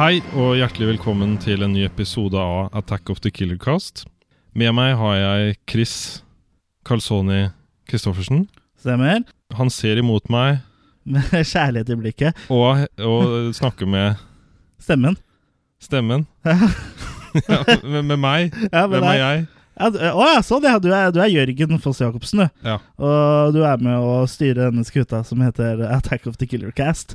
Hei og hjertelig velkommen til en ny episode av Attack of the Killer Cast. Med meg har jeg Chris Carlsoni Christoffersen. Stemmer. Han ser imot meg Med kjærlighet i blikket. og, og snakker med Stemmen. stemmen. ja, med, med meg. Ja, men Hvem er det jeg? Ja, du- Å ja, sånn ja. Du er, du er Jørgen Foss Jacobsen, du. Ja. Og du er med å styre denne skuta som heter Attack of the Killer Cast.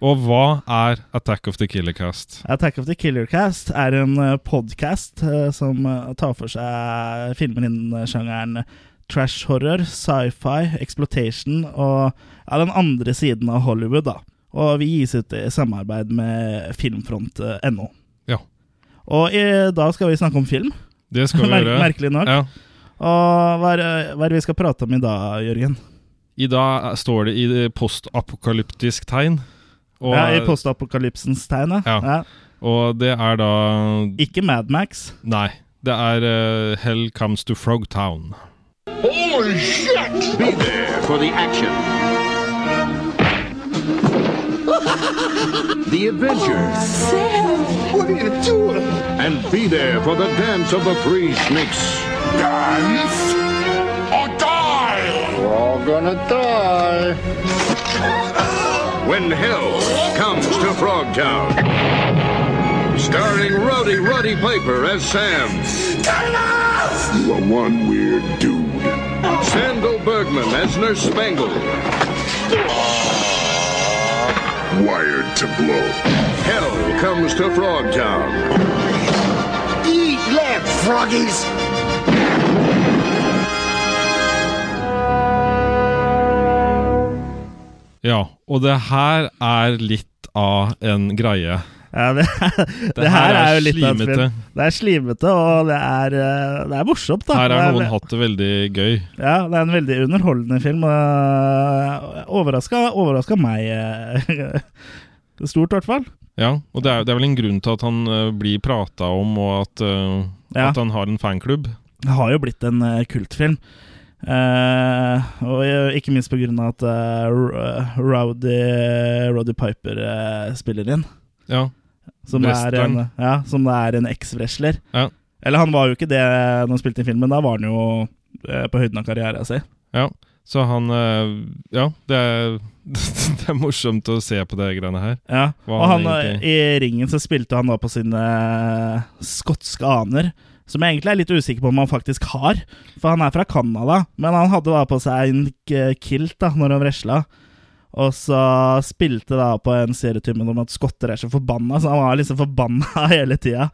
Og hva er Attack of the Killer Cast? Attack of the Killer Cast er en podkast som eh, tar for seg filmer innen eh, sjangeren trash horror, sci-fi, exploitation og ja, den andre siden av Hollywood. da. Og vi gis ut i samarbeid med filmfront.no. Ja. Og i, da skal vi snakke om film, Det skal vi Mer gjøre. merkelig nok. Ja. Og hva er, eh, hva er det vi skal prate om i dag, Jørgen? I dag står det i det postapokalyptisk tegn. Og, ja, I postapokalypsens tegn, ja. Ja. og det er da Ikke Mad Max. Nei. Det er eh, Hell Comes to Frogtown. Holy shit! Be there for the action. the adventure. Oh, What are you doing? And be there for the dance of the three snakes. Dance or die! We're all gonna die. When hell comes to Frogtown. Starring Rowdy Roddy Piper as Sam, Turn off! you are one weird dude. Sandal Bergman as Nurse Spangle. Wired to blow. Hell comes to Frogtown. Eat lead, froggies! Ja, og det her er litt av en greie. Ja, det, det, her er, jo litt av et spill. slimete. Det er slimete, og det er, eh, det er morsomt, da. Her Det har er noen ve- hatt det veldig gøy. Ja, det er en veldig underholdende film. og Overraska, overraska meg eh, stort, i hvert fall. Ja, og det er, det er vel en grunn til at han eh, blir prata om, og at, eh, Ja. at han har en fanklubb. Det har jo blitt en eh, kultfilm. Eh, og eh, ikke minst på grunn av at eh, Ro- eh, Rowdy, Roddy Piper eh, spiller inn. Ja. Som det er en, Wrestleren. ja, som det er en eks-wrestler. Ja. Eller han var jo ikke det når han spilte inn filmen, da var han jo eh, på høyden av karrieren sin. Så han eh, Ja, det er, det er morsomt å se på det greiene her. Ja. Hva Og han han, eh, egentlig- i ringen så spilte han da på sine eh, skotske aner. Som jeg egentlig er litt usikker på om han faktisk har, for han er fra Canada. Men han hadde da på seg en k- eh, kilt da når han wrestla. Og så spilte da på en serietymen om at skotter er så forbanna, så han var liksom forbanna hele tida.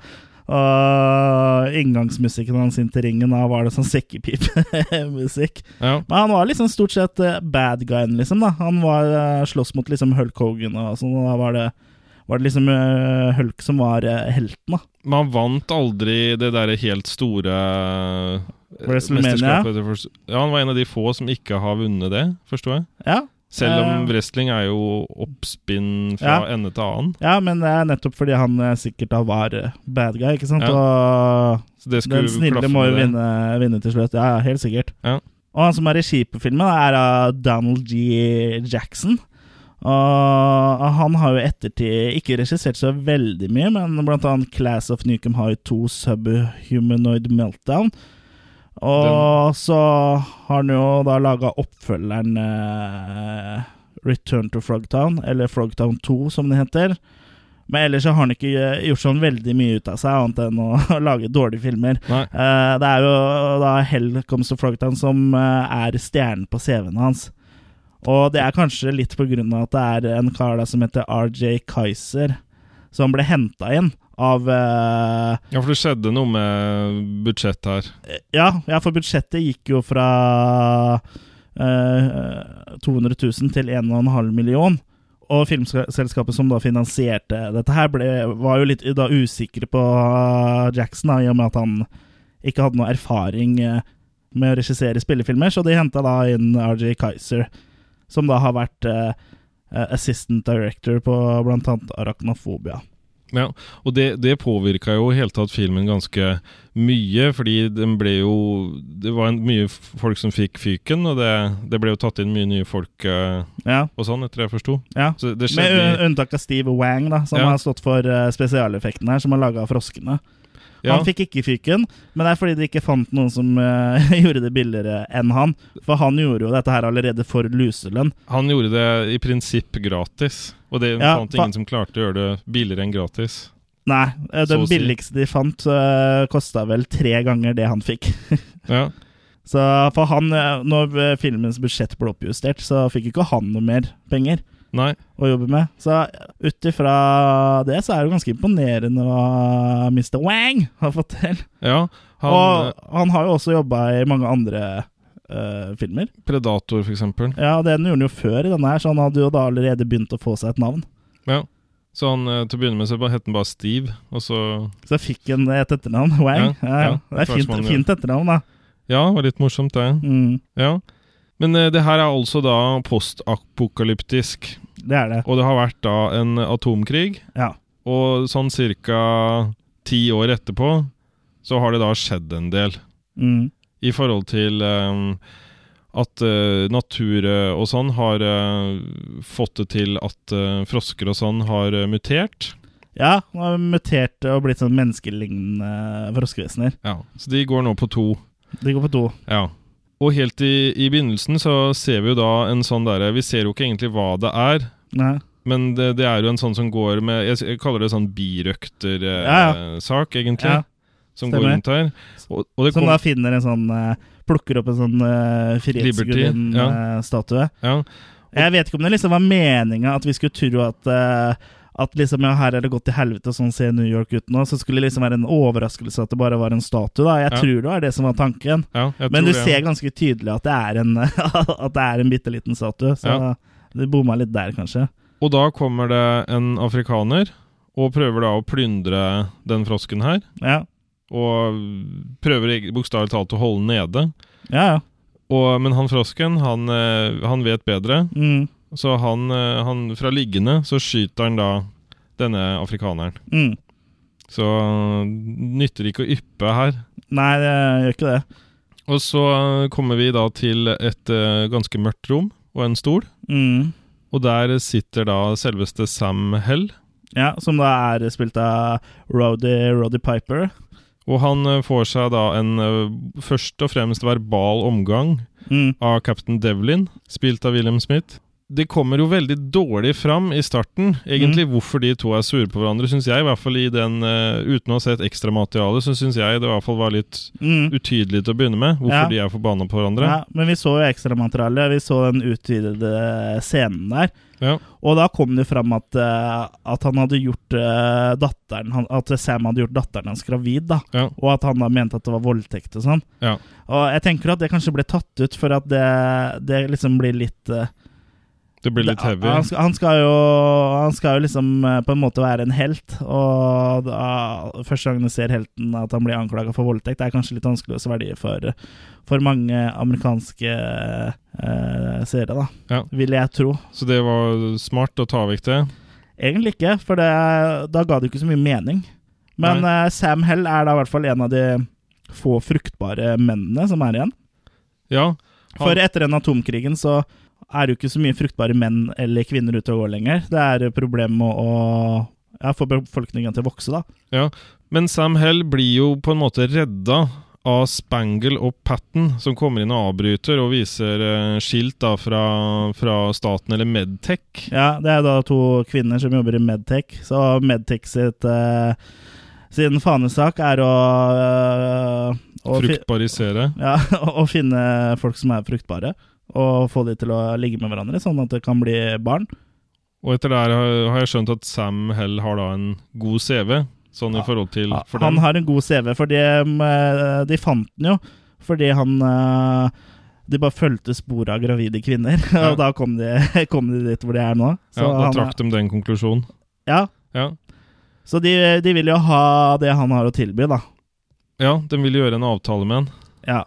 Og inngangsmusikken hans inn til ringen da var det sånn sekkepipemusikk. Ja. Men han var liksom stort sett eh, bad guyen, liksom. da Han var eh, slåss mot liksom Hulk Hogan og sånn, og da var det, var det liksom eh, Hulk som var eh, helten, da. Men han vant aldri det derre helt store eh, WrestleMania? mesterskapet. Ja, han var en av de få som ikke har vunnet det, forstår jeg. Ja, Selv om Eh. wrestling er jo oppspinn fra ende til annen. ja men det er nettopp fordi han eh, sikkert da var eh, bad guy, ikke sant? Ja. Og Så det skulle den snille klaffe må med jo det. vinne, vinne til slutt. Ja, ja, helt sikkert. Ja. Og han som er regi på filmen, er eh, Donald G. Jackson. Og han har jo i ettertid ikke regissert så veldig mye, men blant annet Class of Newcomb har jo to subhumanoid meltdown. Og så har han jo da laga oppfølgeren eh, Return to Frogtown, eller Frogtown 2 som det heter. Men ellers så har han ikke eh, gjort sånn veldig mye ut av seg, annet enn å, lage dårlige filmer. Nei. Eh, det er jo da Hell Comes to Frogtown som eh, er stjernen på CV-en hans. Og det er kanskje litt på grunn av at det er en kar da som heter RJ Kaiser, som ble henta inn av eh, Ja, for det skjedde noe med budsjett her. ja, ja, for budsjettet gikk jo fra eh, 200 000 til 1,5 million. Og filmselskapet som da finansierte dette her, ble, var jo litt da usikre på eh, Jackson, da, i og med at han ikke hadde noe erfaring eh, med å regissere spillefilmer, så de henta da inn RJ Kaiser, som da har vært eh, eh, assistant director på blant annet Arachnophobia. Ja, og det, det påvirka jo i hele tatt filmen ganske mye, fordi den ble jo Det var en, mye f- folk som fikk fyken, og det, det ble jo tatt inn mye nye folk eh, Ja, og sånn, etter det jeg forsto. ja. Så det Med skjedde un- unntak av Steve Wang, da, som Ja. har stått for eh, spesialeffektene her, som har laga froskene. ja, Han fikk ikke fyken, men det er fordi de ikke fant noen som eh, gjorde det billigere enn han. For han gjorde jo dette her allerede for luselønn. Han gjorde det i prinsipp gratis, og det Ja, fant fa- ingen som klarte å gjøre det billigere enn gratis. Nei, eh, Så den å si. billigste de fant, uh, kosta vel tre ganger det han fikk. Ja, Så for han, eh, når eh, filmens budsjett ble oppjustert, så fikk ikke han noe mer penger nei å jobbe med. Så ut ifra det så er det jo ganske imponerende hva Mr. Wang har fått til. Ja, han, eh, og han har jo også jobba i mange andre eh, filmer. Predator, for eksempel. Ja, det gjorde han jo før i denne her, så han hadde jo da allerede begynt å få seg et navn. Ja. Så han, eh, til å begynne med så bare- het han bare Steve, og så Så fikk han et etternavn. Wang. Ja, Ja, ja. ja. Det er Tvers fint, mann, ja. fint etternavn, da. Ja, det var litt morsomt, det. Mm, Ja. Men eh, det her er altså da postapokalyptisk, det er det. og det har vært da en atomkrig, Ja. og sånn ca. ti år etterpå så har det da skjedd en del. Mm, I forhold til eh, at eh, natur eh, og sånn har eh, fått det til at eh, frosker og sånn har eh, mutert. ja, han har mutert og blitt sånn menneskelignende froskevesener. Ja. Så de går nå på to. De går på to. Ja. Og helt i, i begynnelsen så ser vi jo da en sånn derre Vi ser jo ikke egentlig hva det er. Nei. Men det, det er jo en sånn som går med Jeg, s- jeg kaller det sånn Ja, birøktersak, egentlig. Ja. som stemmer. går rundt her. Og, og det Som kom, da finner en sånn eh, Plukker opp en sånn eh, uh, Liberty, ja. frihetsgudin-statue. ja, Jeg vet ikke om det liksom var meninga at vi skulle tro at eh, At liksom, ja, her er det gått til helvete, og sånn ser New York ut nå. Så skulle det liksom være en overraskelse at det bare var en statue. da Jeg Ja. tror det var det som var tanken. ja, jeg Men tror du det. ser ganske tydelig at det er en At det er en bitte liten statue. Så Ja. du bomma litt der, kanskje. Og da kommer det en afrikaner og prøver da å plyndre den frosken her. Ja, Og prøver eg- bokstavelig talt å holde den nede. ja. ja. Og, men han frosken, han, eh, han vet bedre. Mm. Så han, eh, han fra liggende så skyter han da denne afrikaneren. Mm. Så eh, nytter ikke å yppe her. Nei, det gjør ikke det. Og så eh, kommer vi da til et eh, ganske mørkt rom og en stol. Mm. Og der sitter da selveste Sam Hell. Ja, Som da er spilt av Roddy, Roddy Piper. Og han eh, får seg da en eh, først og fremst verbal omgang Mm. av Captain Devlin, spilt av William Smith. Det kommer jo veldig dårlig fram i starten, Mm. egentlig hvorfor de to er sure på hverandre, syns jeg. I hvert fall i den, eh, Uten å ha sett ekstramaterialet, så syns jeg det i hvert fall var litt Mm. utydelig til å begynne med, hvorfor Ja. de er forbanna på hverandre. Ja, men vi så jo ekstramaterialet. Vi så den utvidede scenen der. Ja. Og da kom det fram at, eh, at han hadde gjort eh, datteren han- At Sam hadde gjort datteren hans gravid, da. Ja. Og at han da mente at det var voldtekt og sånn. Ja. Og jeg tenker at det kanskje ble tatt ut for at det, det liksom blir litt eh, Det blir litt det- altså heavy. Han, skal, han skal jo Han skal jo liksom eh, på en måte være en helt, og da, første gangen du ser helten at han blir anklaga for voldtekt, det er kanskje litt vanskelig å svelge for, for mange amerikanske eh, seere, da. Ja. Vil jeg tro. Så det var smart å ta vekk det. Egentlig ikke, for det, da ga det jo ikke så mye mening. Men eh, Sam Hell er da i hvert fall en av de få fruktbare mennene som er igjen. Ja. Han- For etter den atomkrigen så er det jo ikke så mye fruktbare menn eller kvinner ute og går lenger. Det er problemet med å ja, få befolkningen til å vokse, da. Ja, men Sam Hell blir jo på en måte redda av Spangle og Patten, som kommer inn og avbryter og viser eh, skilt da fra, fra staten, eller Medtech. Ja, Det er da to kvinner som jobber i Medtech, så Medtech sitt eh, sin fanesak er å, eh, å fi- Fruktbarisere. Ja, å finne folk som er fruktbare, og få de til å ligge med hverandre, sånn at det kan bli barn. Og etter det her har- har jeg skjønt at Sam Hell har da en god CV, sånn i forhold til Ja, for han dem. har en god CV, for de, eh, de fant den jo fordi han eh, De bare fulgte sporet av gravide kvinner, Ja. og da kom de, kom de dit hvor de er nå. Så, Ja, da han, trakk de den konklusjonen. ja, Ja. så de, de vil jo ha det han har å tilby, da. ja, de ville gjøre en avtale med han. Ja.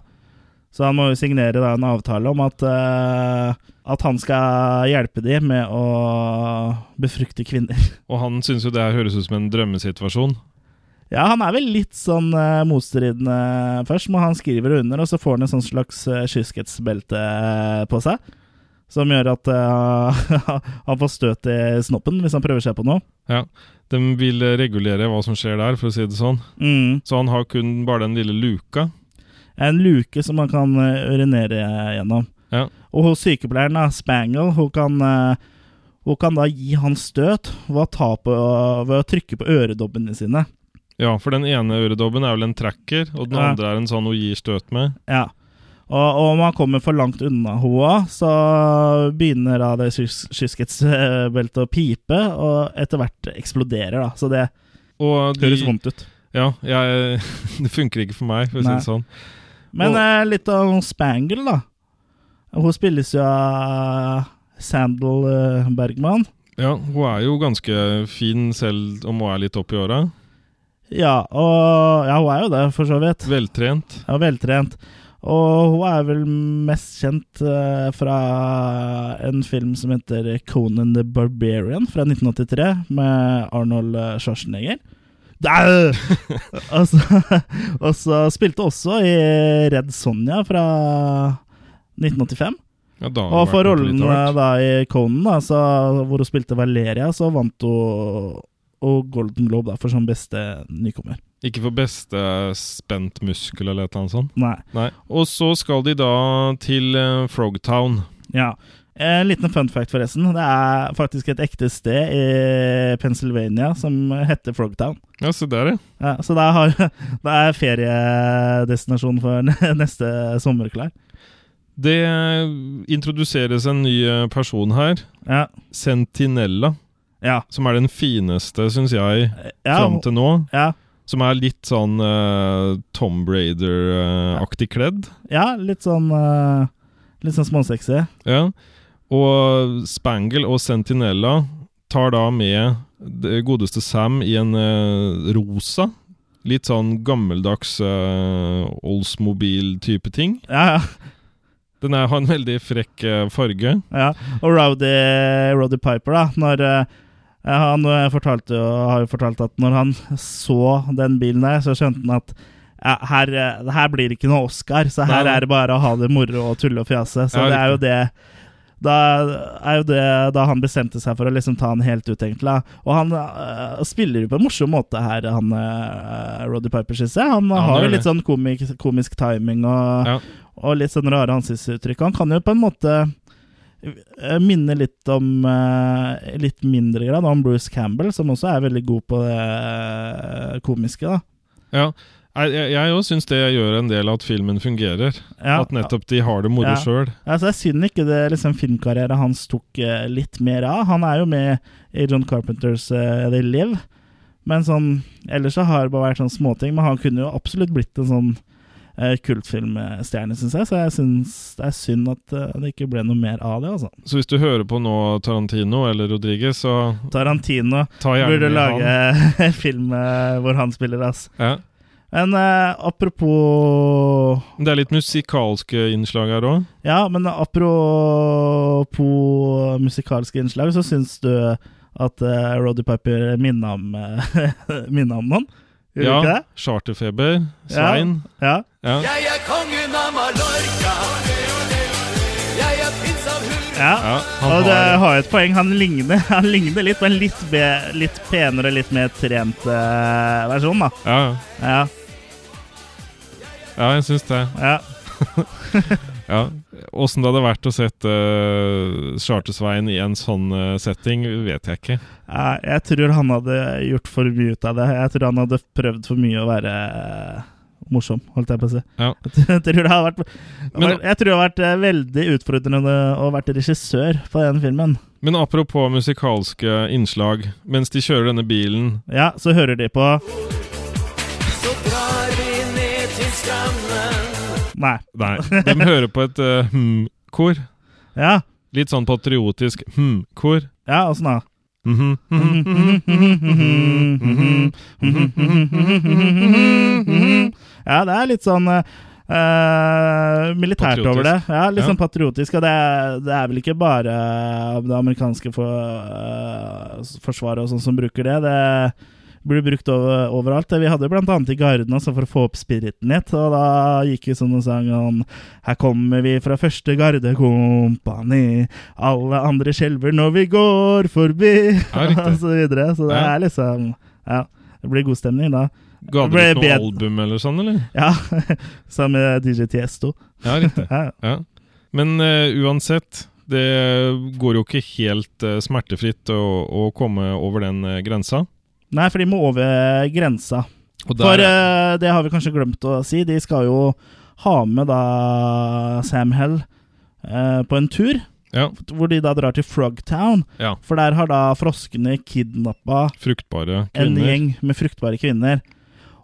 Så han må jo signere da en avtale om at, eh, at han skal hjelpe de med å befrukte kvinner. Og han syns jo det her høres ut som en drømmesituasjon. Ja, han er vel litt sånn eh, motstridende først, men han skriver under, og så får han en sånn slags uh, kyskhetsbelte eh, på seg. Som gjør at eh, han får støt i snoppen hvis han prøver seg på noe. Ja. De vil eh, regulere hva som skjer der, for å si det sånn. Mm. Så han har kun bare den lille luka. En luke som man kan eh, urinere gjennom. Ja. Og hos sykepleieren, da, Spangle, hun kan, eh, hun kan da gi han støt ved å, ta på, ved å trykke på øredobbene sine. ja, for den ene øredobben er vel en tracker, og den Ja. andre er en sånn hun gir støt med. Ja. Og, og om han kommer for langt unna hoa, så begynner da det kys- kyskhetsbeltet å pipe, og etter hvert eksploderer, da. Så det Og de, høres vondt ut. Ja, jeg, det funker ikke for meg, for å si Nei. det sånn. Men og- eh, litt om Spangle, da. Hun spilles jo av Sandal eh, Bergman. Ja, hun er jo ganske fin selv om hun er litt opp i åra. Ja, og Ja, hun er jo det, for så vidt. Veltrent. Ja, veltrent. Og hun er vel mest kjent eh, fra en film som heter Conan the Barbarian fra 1983, med Arnold eh, Schwarzenegger. Dæ! og, så, og så spilte hun også i Red Sonja fra 1985. Ja, da har hun Og for vært oppe rollen eh, litt hardt. da i Conan, da, så, hvor hun spilte Valeria, så vant hun og Golden Globe da, for som beste nykommer. Ikke for beste spent muskel eller et eller annet sånt. Nei. Nei. Og så skal de da til eh, Frogtown. Ja. En liten fun fact, forresten. Det er faktisk et ekte sted i Pennsylvania som heter Frogtown. Ja, se der, ja. Ja, så det er, det er feriedestinasjon for n- neste sommer klar. Det eh, introduseres en ny eh, person her. Ja. Sentinella. Ja. Som er den fineste, syns jeg, Ja, fram til nå. ja, Som er litt sånn eh, Tom Brader-aktig kledd. ja litt sånn eh, Litt sånn småsexy. Ja. Og Spangle og Sentinella tar da med det godeste Sam i en eh, rosa. Litt sånn gammeldags eh, Oldsmobil-type ting. Ja, ja. Den er, har en veldig frekk eh, farge. ja. Og Rowdy, Roddy Piper, da. Når eh, han eh, fortalte jo, har jo fortalt at når han så den bilen der, så skjønte han at ja, her, eh, det her blir det ikke noe Oscar, så her Nei. er det bare å ha det moro og tulle og fjase. Så Ja, det er jo det da er jo det da han bestemte seg for å liksom ta han helt ut, egentlig. da. Og han eh, spiller jo på en morsom måte her, han uh, Roddy Piper, syns jeg. Han, han har gjør jo litt det. sånn komik, komisk timing og Ja. og litt sånn rare ansiktsuttrykk. Han kan jo på en måte eh, minne litt om eh, Litt mindre grad om Bruce Campbell, som også er veldig god på det eh, komiske, da. Ja. Jeg- Jeg òg syns det gjør en del at filmen fungerer. Ja, At nettopp de har det moro Ja. sjøl. altså, det er synd ikke det liksom, filmkarrieren hans tok eh, litt mer av. Han er jo med i John Carpenters eh, The Live, men sånn ellers så har det bare vært sånn småting. Men han kunne jo absolutt blitt en sånn eh, kultfilmstjerne, syns jeg. Så jeg syns det er synd at eh, det ikke ble noe mer av det, altså. Så hvis du hører på nå Tarantino eller Rodriguez, så Tarantino ta gjerne Burde med han. lage en film eh, hvor han spiller, ass. Ja. Men eh, apropos Det er litt musikalske innslag her òg. Ja, men apropos musikalske innslag, så syns du at eh, Roddy Piper minna om, eh, minnet om noen? Gjør du ikke det? Charterfeber. Svein. Ja. Ja. Jeg er kongen av Mallorca. Jeg er prins av Hurra. ja. Ja, han og det har- har jo et poeng. Han ligner, han ligner litt, men litt, be, litt penere, litt mer trent eh, versjon, da. Ja, ja. Ja, ja jeg syns det. ja. Ja. Åssen det hadde vært å sette uh, Charter-Svein i en sånn eh, setting, vet jeg ikke. Ja, jeg tror han hadde gjort for mye ut av det. Jeg tror han hadde prøvd for mye å være eh, morsom, holdt jeg på å si. Ja. Jeg tror det har vært Men- Jeg tror det har vært eh, veldig utfordrende å være regissør på den filmen. Men apropos musikalske innslag. Mens de kjører denne bilen Ja, så hører de på Så drar vi ned til stranden. Nei. Nei, de hører på et eh, hm-kor. Ja, Litt sånn patriotisk hm-kor. ja åssen da? Mhm, mhm. Mm-hmm. Mm-hmm. Ja, det er litt sånn eh, eh, militært Patriotisk. over det. Ja, Litt Ja. sånn patriotisk. Og det er, det er vel ikke bare det amerikanske for, eh, forsvaret og sånn som bruker det. Det blir brukt over, overalt. Vi hadde bl.a. i Garden også for å få opp spiriten litt. Og da gikk vi sånn og sang om Her kommer vi fra første gardekompani. Alle andre skjelver når vi går forbi, Ja, riktig. og så videre. Så det Ja. er liksom Ja, det blir god stemning da. Ga dere Ble ut noe bed- album eller sånn, eller? Ja, sammen med DJ Tiesto. Ja, riktig. Ja. Ja. Men eh, uansett, det går jo ikke helt eh, smertefritt å, å komme over den eh, grensa. Nei, for de må over grensa. Og der, For eh, det har vi kanskje glemt å si. De skal jo ha med da Sam Hell eh, på en tur, ja, hvor de da drar til Frogtown. ja, For der har da froskene kidnappa fruktbare en kvinner gjeng med fruktbare kvinner.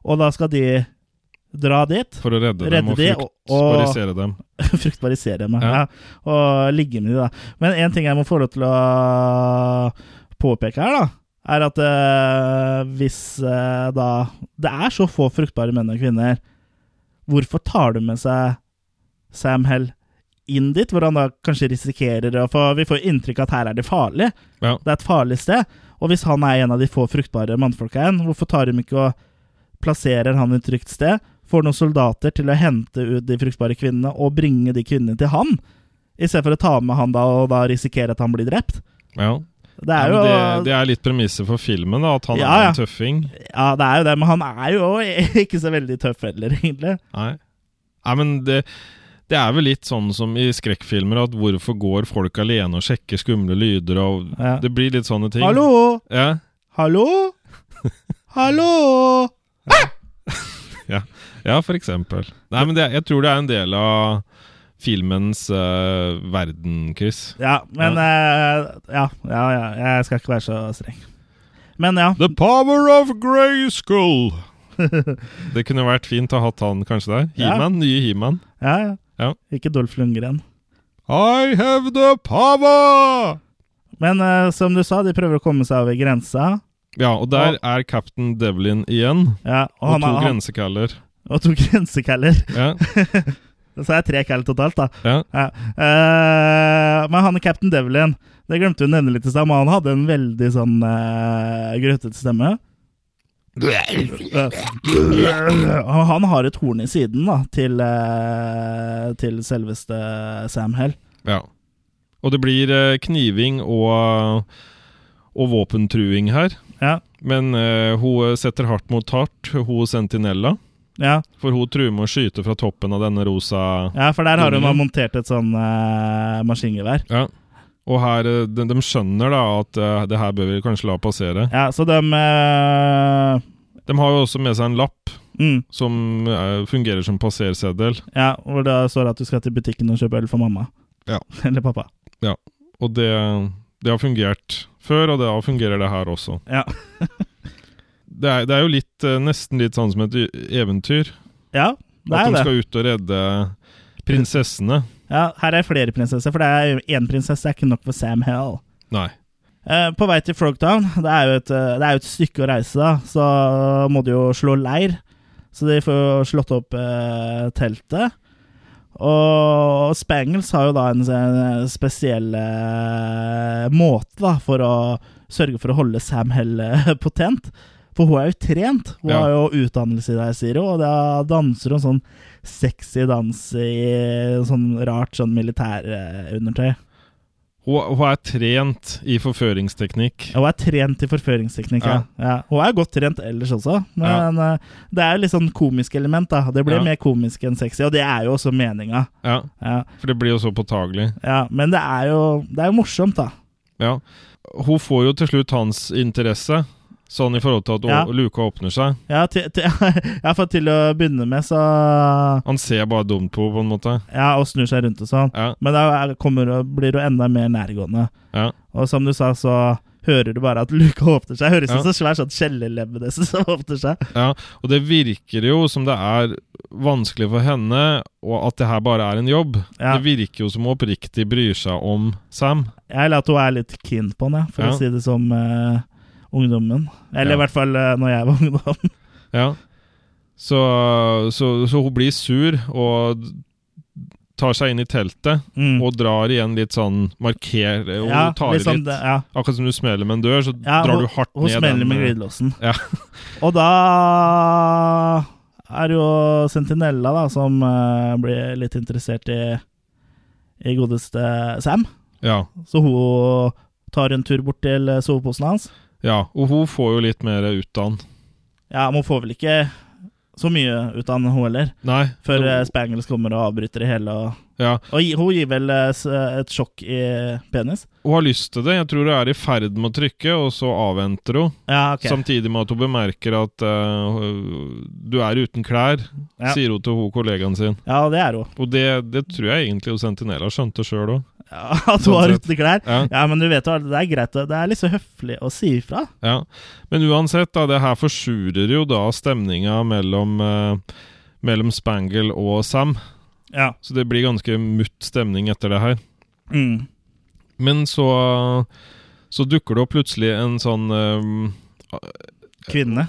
Og da skal de dra dit, for å redde, redde dem og de, og- og- fruktbarisere dem. fruktbarisere meg, ja. Ja. og ligge med de, da. Men én ting jeg må få lov til å påpeke her, da, er at eh, hvis eh, da det er så få fruktbare menn og kvinner, hvorfor tar du med seg Sam Hell inn dit, hvor han da kanskje risikerer å få Vi får inntrykk av at her er det farlig. Ja. Det er et farlig sted. Og hvis han er en av de få fruktbare mannfolka igjen, hvorfor tar de ikke og plasserer han i et trygt sted? Får noen soldater til å hente ut de fruktbare kvinnene og bringe de kvinnene til han? I stedet for å ta med han da og da risikere at han blir drept. Ja. Det Ja, er men jo det, det er litt premisset for filmen, da, at han Ja, er ja. en tøffing. Ja, det er jo det, men han er jo ikke så veldig tøff heller, egentlig. Nei. Nei, men det, det er vel litt sånn som i skrekkfilmer, at hvorfor går folk alene og sjekker skumle lyder, og Ja. det blir litt sånne ting. Hallo! Ja. Hallo! Hallo! Ah! Ja, for eksempel. Nei, men det, jeg tror det er en del av filmens eh, verden, Chris. Ja, men eh, ja. ja, ja, jeg skal ikke være så streng. Men ja. The power of Grayskull! det kunne vært fint å ha hatt han kanskje der. Ja. He-Man, nye He-Man. ja, ja. Ja. Ikke Dolph Lundgren. I have the power! Men eh, som du sa, de prøver å komme seg over grensa. Ja, og der er Captain Devlin igjen. Ja, og, Og, han, to han- grensekaller. og to grensekaller. Ja, Så er det tre kall totalt, da. ja. Ja. Eh, men han er Captain Devlin. Det glemte vi å nevne litt i stad, men han hadde en veldig sånn uh, grøtete stemme. Eh, og han har et horn i siden da til, eh, til selveste Sam Hell. ja. Og det blir eh, kniving og, og våpentruing her. Ja, Men eh, hun setter hardt mot hardt, hun sentinella. ja, For hun truer med å skyte fra toppen av denne rosa ja for der har hun da Mhm. montert et sånn eh, maskingevær. Ja. Og her, eh, de, de skjønner da at eh, det her bør vi kanskje la passere. Ja, så de eh, De har jo også med seg en lapp mm, som eh, fungerer som passerseddel. Ja, hvor det står at du skal til butikken og kjøpe øl for mamma. Ja. Eller pappa. Og det, det har fungert før, og det har- fungerer det her også. Ja. Det er, det er jo litt, eh, nesten litt sånn som et y- eventyr. Ja, det At er de det. skal ut og redde prinsessene. Ja, her er flere prinsesser, for det er jo én prinsesse er ikke nok for Sam Hell. Nei. Eh, på vei til Frogtown, det er, jo et, eh, det er jo et stykke å reise, da, så må de jo slå leir. Så de får jo slått opp eh, teltet. Og Spangles har jo da en, en spesiell eh, måte da, for å sørge for å holde Sam Hell eh, potent. For hun er jo trent. Hun Ja. har jo utdannelse i det, her, sier hun. Og da danser hun sånn sexy dans i sånn rart sånn militærundertøy. Hun, hun er trent i forføringsteknikk. Ja, Hun er trent i forføringsteknikk, ja. ja. Hun er godt trent ellers også, men eh, det er jo litt sånn komisk element, da. Det blir Ja. mer komisk enn sexy, og det er jo også meninga. Ja, Ja, For det blir jo så påtagelig. ja, men det er jo Det er jo morsomt, da. Ja. Hun får jo til slutt hans interesse, sånn i forhold til at Ja. å- luka åpner seg. Ja, til, til, ja, for til å begynne med, så Han ser bare dumt på henne, på en måte. Ja, og snur seg rundt og sånn. Ja, Men da er- kommer, hun- blir hun enda mer nærgående. ja. Og som du sa, så hører du bare at luka åpner seg. Høres ut Ja. som svær sånn skjellelebbe nesten som åpner seg. ja. Og det virker jo som det er vanskelig for henne, og at det her bare er en jobb. Ja. Det virker jo som hun oppriktig bryr seg om Sam. Jeg vil at hun er litt keen på den, jeg, for Ja. å si det som eh, ungdommen. Eller Ja. i hvert fall uh, når jeg var ungdom. Ja. Så, så, så hun blir sur og tar seg inn i teltet Mm. og drar igjen litt sånn marker Hun Ja, tar i liksom litt. det- ja. Akkurat som du smeller med en dør, så Ja, drar hun- du hardt Hun ned smeller den. eh, med glidelåsen. Ja. Og da er det jo Sentinella da, som eh, blir litt interessert i, i godeste Sam. ja. Så hun tar en tur bort til eh, soveposen hans. ja. Og hun får jo litt mer ut av den. Ja, men hun får vel ikke så mye ut av hun heller, Nei. før hun- eh, Spangles kommer og avbryter det hele. Og, ja. og gi- hun gir vel eh, s- et sjokk i penis. Hun har lyst til det. Jeg tror hun er i ferd med å trykke, og så avventer hun. Ja, ok. Samtidig med at hun bemerker at eh, du er uten klær, Ja. sier hun til hun kollegaen sin. Ja, det er hun. Og det, det tror jeg egentlig hun Sentinella skjønte sjøl òg. Ja, at hun Sånn har sett. uten klær. Ja, Ja, men du vet jo, det er greit. å- Det er litt så høflig å si ifra. ja. Men uansett, da, det her forsurer jo da stemninga mellom, eh, mellom Spangle og Sam. Ja. Så det blir ganske mutt stemning etter det her. Mm. Men så, så dukker det opp plutselig en sånn eh, Kvinne.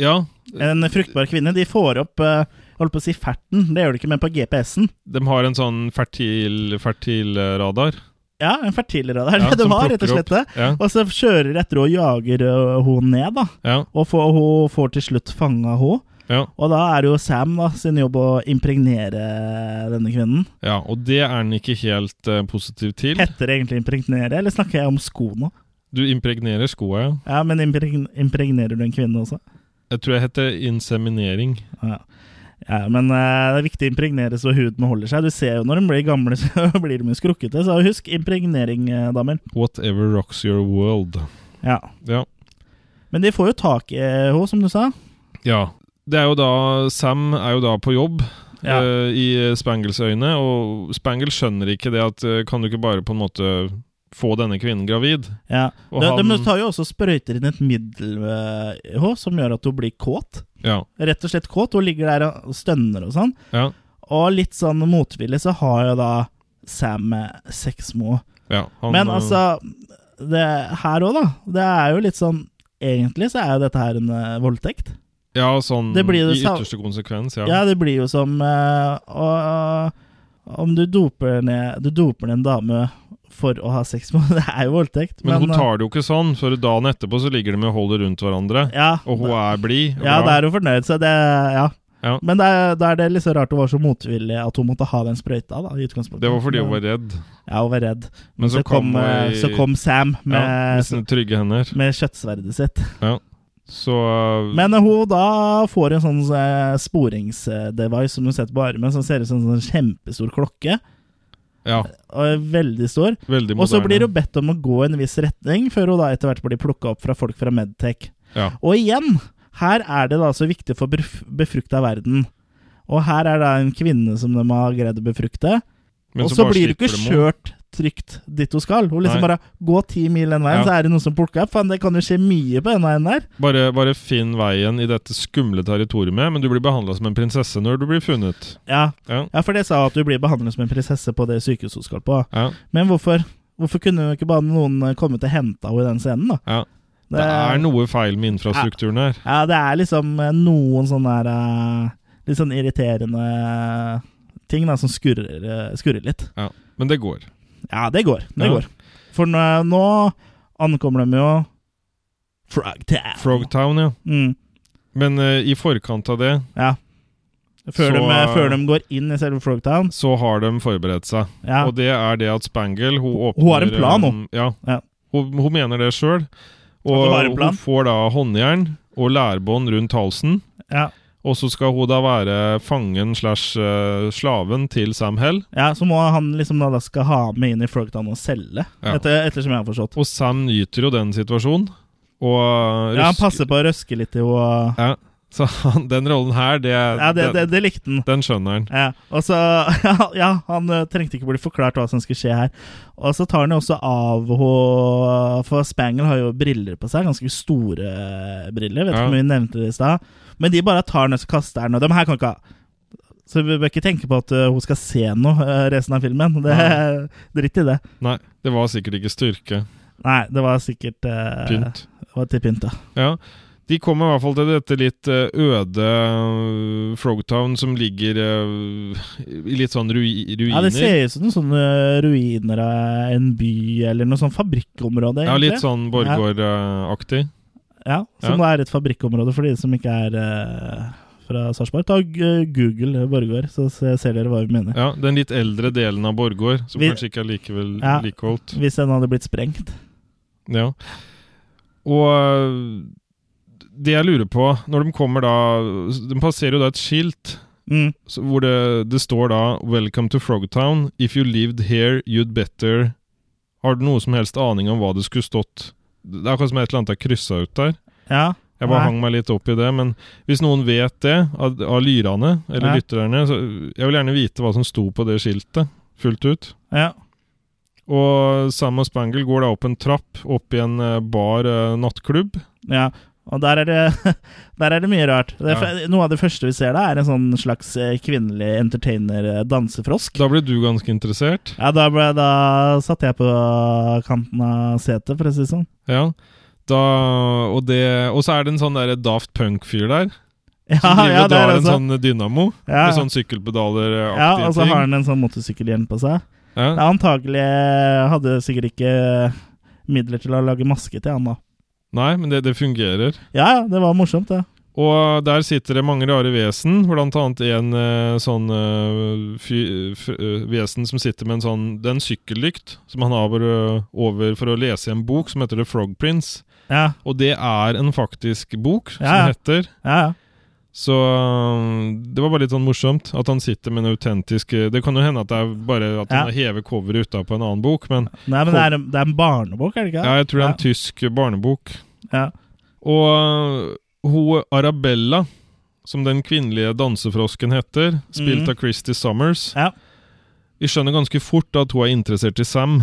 Ja, En fruktbar kvinne. De får opp eh, Jeg holdt på å si ferten, det gjør de ikke, men på GPS-en. de har en sånn fertil, fertil eh, radar. Ja, en fertilradar. Ja, det som var rett og plukker opp. slett det. Ja, Og så kjører de etter og jager øh, hun ned, da. ja, Og får, hun får til slutt fanga hun. ja. Og da er det jo Sam da, sin jobb å impregnere denne kvinnen. Ja, og det er han ikke helt eh, positiv til. Heter det egentlig impregnere, eller snakker jeg om sko nå? Du impregnerer skoa, ja. Ja, men impregn impregnerer du en kvinne også? Jeg tror jeg heter inseminering. Ja, ja men eh, det er viktig å impregnere så huden holder seg. Du ser jo når de blir gamle, så blir de jo skrukkete. Så husk impregnering, eh, damer. Whatever rocks your world. Ja. Ja. Men de får jo tak i henne, som du sa. ja. Det er jo da Sam er jo da på jobb Ja. eh, i Spangles øyne, og Spangle skjønner ikke det at eh, Kan du ikke bare på en måte få denne kvinnen gravid? Ja. Og De, de han- tar jo også sprøyter inn et middel eh, i henne som gjør at hun blir kåt. Ja. Rett og slett kåt. Hun ligger der og stønner og sånn. Ja. Og litt sånn motvillig så har jo da Sam eh, sex med henne. ja han, Men eh, altså, det her òg, da. Det er jo litt sånn Egentlig så er jo dette her en eh, voldtekt. Ja, sånn det blir i det sa- ytterste konsekvens, ja. Ja, det blir jo som eh, å- Om du doper ned, du doper ned en dame for å ha sex med henne, det er jo voldtekt. Men hun tar det jo ikke sånn, for dagen etterpå så ligger de og holder rundt hverandre. eh, ja, Og hun er blid. og ja, glad. da er hun fornøyd, så det Ja. Ja. Men da er- da er det litt så rart hun var så motvillig at hun måtte ha den sprøyta. da, i utgangspunktet. Det var fordi hun Men- var redd. Ja, hun var redd. Men så kom hun eh, i- så kom Sam ja, med, med sine trygge hender. med kjøttsverdet sitt. Så eh, Mm. Men hun da får en sånn eh, sporingsdevice som hun setter på armen, som ser ut som en sånn kjempestor klokke. ja, Og er veldig stor. veldig moderne. Og så blir hun bedt om å gå en viss retning, før hun da etter hvert blir plukka opp fra folk fra Medtech. Ja. Og igjen, her er det da så viktig for bef- befrukta verden. Og her er da en kvinne som de har greid å befrukte. Men og så bare blir du ikke slipper dem opp. kjørt trygt dit hun skal. Hun liksom Nei. bare gå ti mil den Ja. veien, så er det noen som plukker opp. Faen, det kan jo skje mye på den veien der. Bare, bare finn veien i dette skumle territoriet, men du blir behandla som en prinsesse når du blir funnet. Ja. Ja. ja, for det sa at du blir behandlet som en prinsesse på det sykehuset hun skal på. Ja, Men hvorfor? Hvorfor kunne jo ikke bare noen kommet og henta henne i den scenen, da? ja. Det er noe feil med infrastrukturen her. Ja, det er liksom eh, noen sånne der eh, Litt sånn irriterende ting da, som skurrer, eh, skurrer litt. Ja. Men det går. Ja, det går. Det Ja. går. For nå, eh, nå ankommer de jo Frogtown. Frogtown, ja. Mm, Men eh, i forkant av det ja. Før, Så- de, eh, før de går inn i selve Frogtown. så har de forberedt seg. Ja. Og det er det at Spangle Hun, åpner, har en plan, hun. um, Ja. Ja. Hun, hun mener det sjøl. At hun har Og en plan. hun får da håndjern og lærbånd rundt halsen. Ja. Og så skal hun da være fangen slash eh, slaven til Sam Hell. ja, Så må han liksom da, da skal ha med inn i Frogtown og selge, Ja. etter, ettersom jeg har forstått. Og Sam nyter jo den situasjonen. Og eh, Ja, Han rusk- passer på å røske litt i henne. Ja. Så han, den rollen her, det, Ja, det, det, den, det likte han. den skjønner han. Ja, og så, ja, han ø, trengte ikke bli forklart hva som skulle skje her. Og så tar han jo også av henne For Spangle har jo briller på seg, ganske store eh, briller. Vet ikke Ja. om vi nevnte det i stad. Men de bare tar den og så kaster den, og dem her kan ikke ha. Så vi bør ikke tenke på at ø, hun skal se noe ø, resten av filmen. Det, dritt i det. Nei, det var sikkert ikke styrke. Nei, det var sikkert ø, Pynt. det var til pynt, ja. Ja. De kommer i hvert fall til dette litt eh, øde eh, Frogtown som ligger eh, i litt sånn rui ruiner. Ja, Det ser ut som noen sånne ruiner av en by eller noe sånn fabrikkområde. Ja, egentlig. litt sånn Borregaard-aktig. Ja, Som da er et fabrikkområde for de som ikke er eh, fra Sarpsborg. Ta eh, Google Borregaard, så se- ser dere hva vi mener. Ja, den litt eldre delen av Borregaard, som Vi- kanskje ikke er likevel Ja. likeholdt. Hvis den hadde blitt sprengt. Ja. Og øh, det jeg lurer på Når de kommer da De passerer jo da et skilt Mm. så- hvor det, det står da 'Welcome to Frogtown. If you lived here, you'd better' Har du noe som helst aning om hva det skulle stått Det er akkurat som et eller annet er kryssa ut der. Ja. Jeg bare Nei. hang meg litt opp i det, men hvis noen vet det av, av lyrene, eller Ja. lytterne, så jeg vil gjerne vite hva som sto på det skiltet, fullt ut. ja. Og Sam og Spangle går da opp en trapp, opp i en eh, bar eh, nattklubb. Ja, og der er det, der er det mye rart. Det er, f- Noe av det første vi ser da, er en sånn slags eh, kvinnelig entertainer-dansefrosk. Da ble du ganske interessert. Ja, da, ble, da satt jeg på kanten av setet, for å si det sånn. Ja. Da, og, det, og så er det en sånn der Daft Punk-fyr der, Ja, som driver ja, og der drar en også. sånn dynamo. Ja. Med sånn sykkelpedaler-aktige Ja, og så ting. har han en sånn motorsykkelhjelm på seg. Ja. Ja, antagelig eh, hadde sikkert ikke eh, midler til å lage maske til han da. Nei, men det, det fungerer. Ja, ja, det var morsomt, det. Og der sitter det mange rare vesen, blant annet en eh, sånn eh, fy, f, eh, vesen som sitter med en sånn Det er en sykkellykt som han har over, over for å lese i en bok som heter The Frog Prince. Ja, Og det er en faktisk bok som Ja, ja. heter. ja, ja. Så um, det var bare litt sånn morsomt at han sitter med en autentisk eh, Det kan jo hende at det er bare at han Ja. har hevet coveret utapå en annen bok, men Nei, men det er, det er en barnebok, er det ikke? ja, jeg tror det er en tysk barnebok. Ja, Og uh, hun Arabella, som den kvinnelige dansefrosken heter, spilt Mhm. av Christy Summers ja. Vi skjønner ganske fort at hun er interessert i Sam.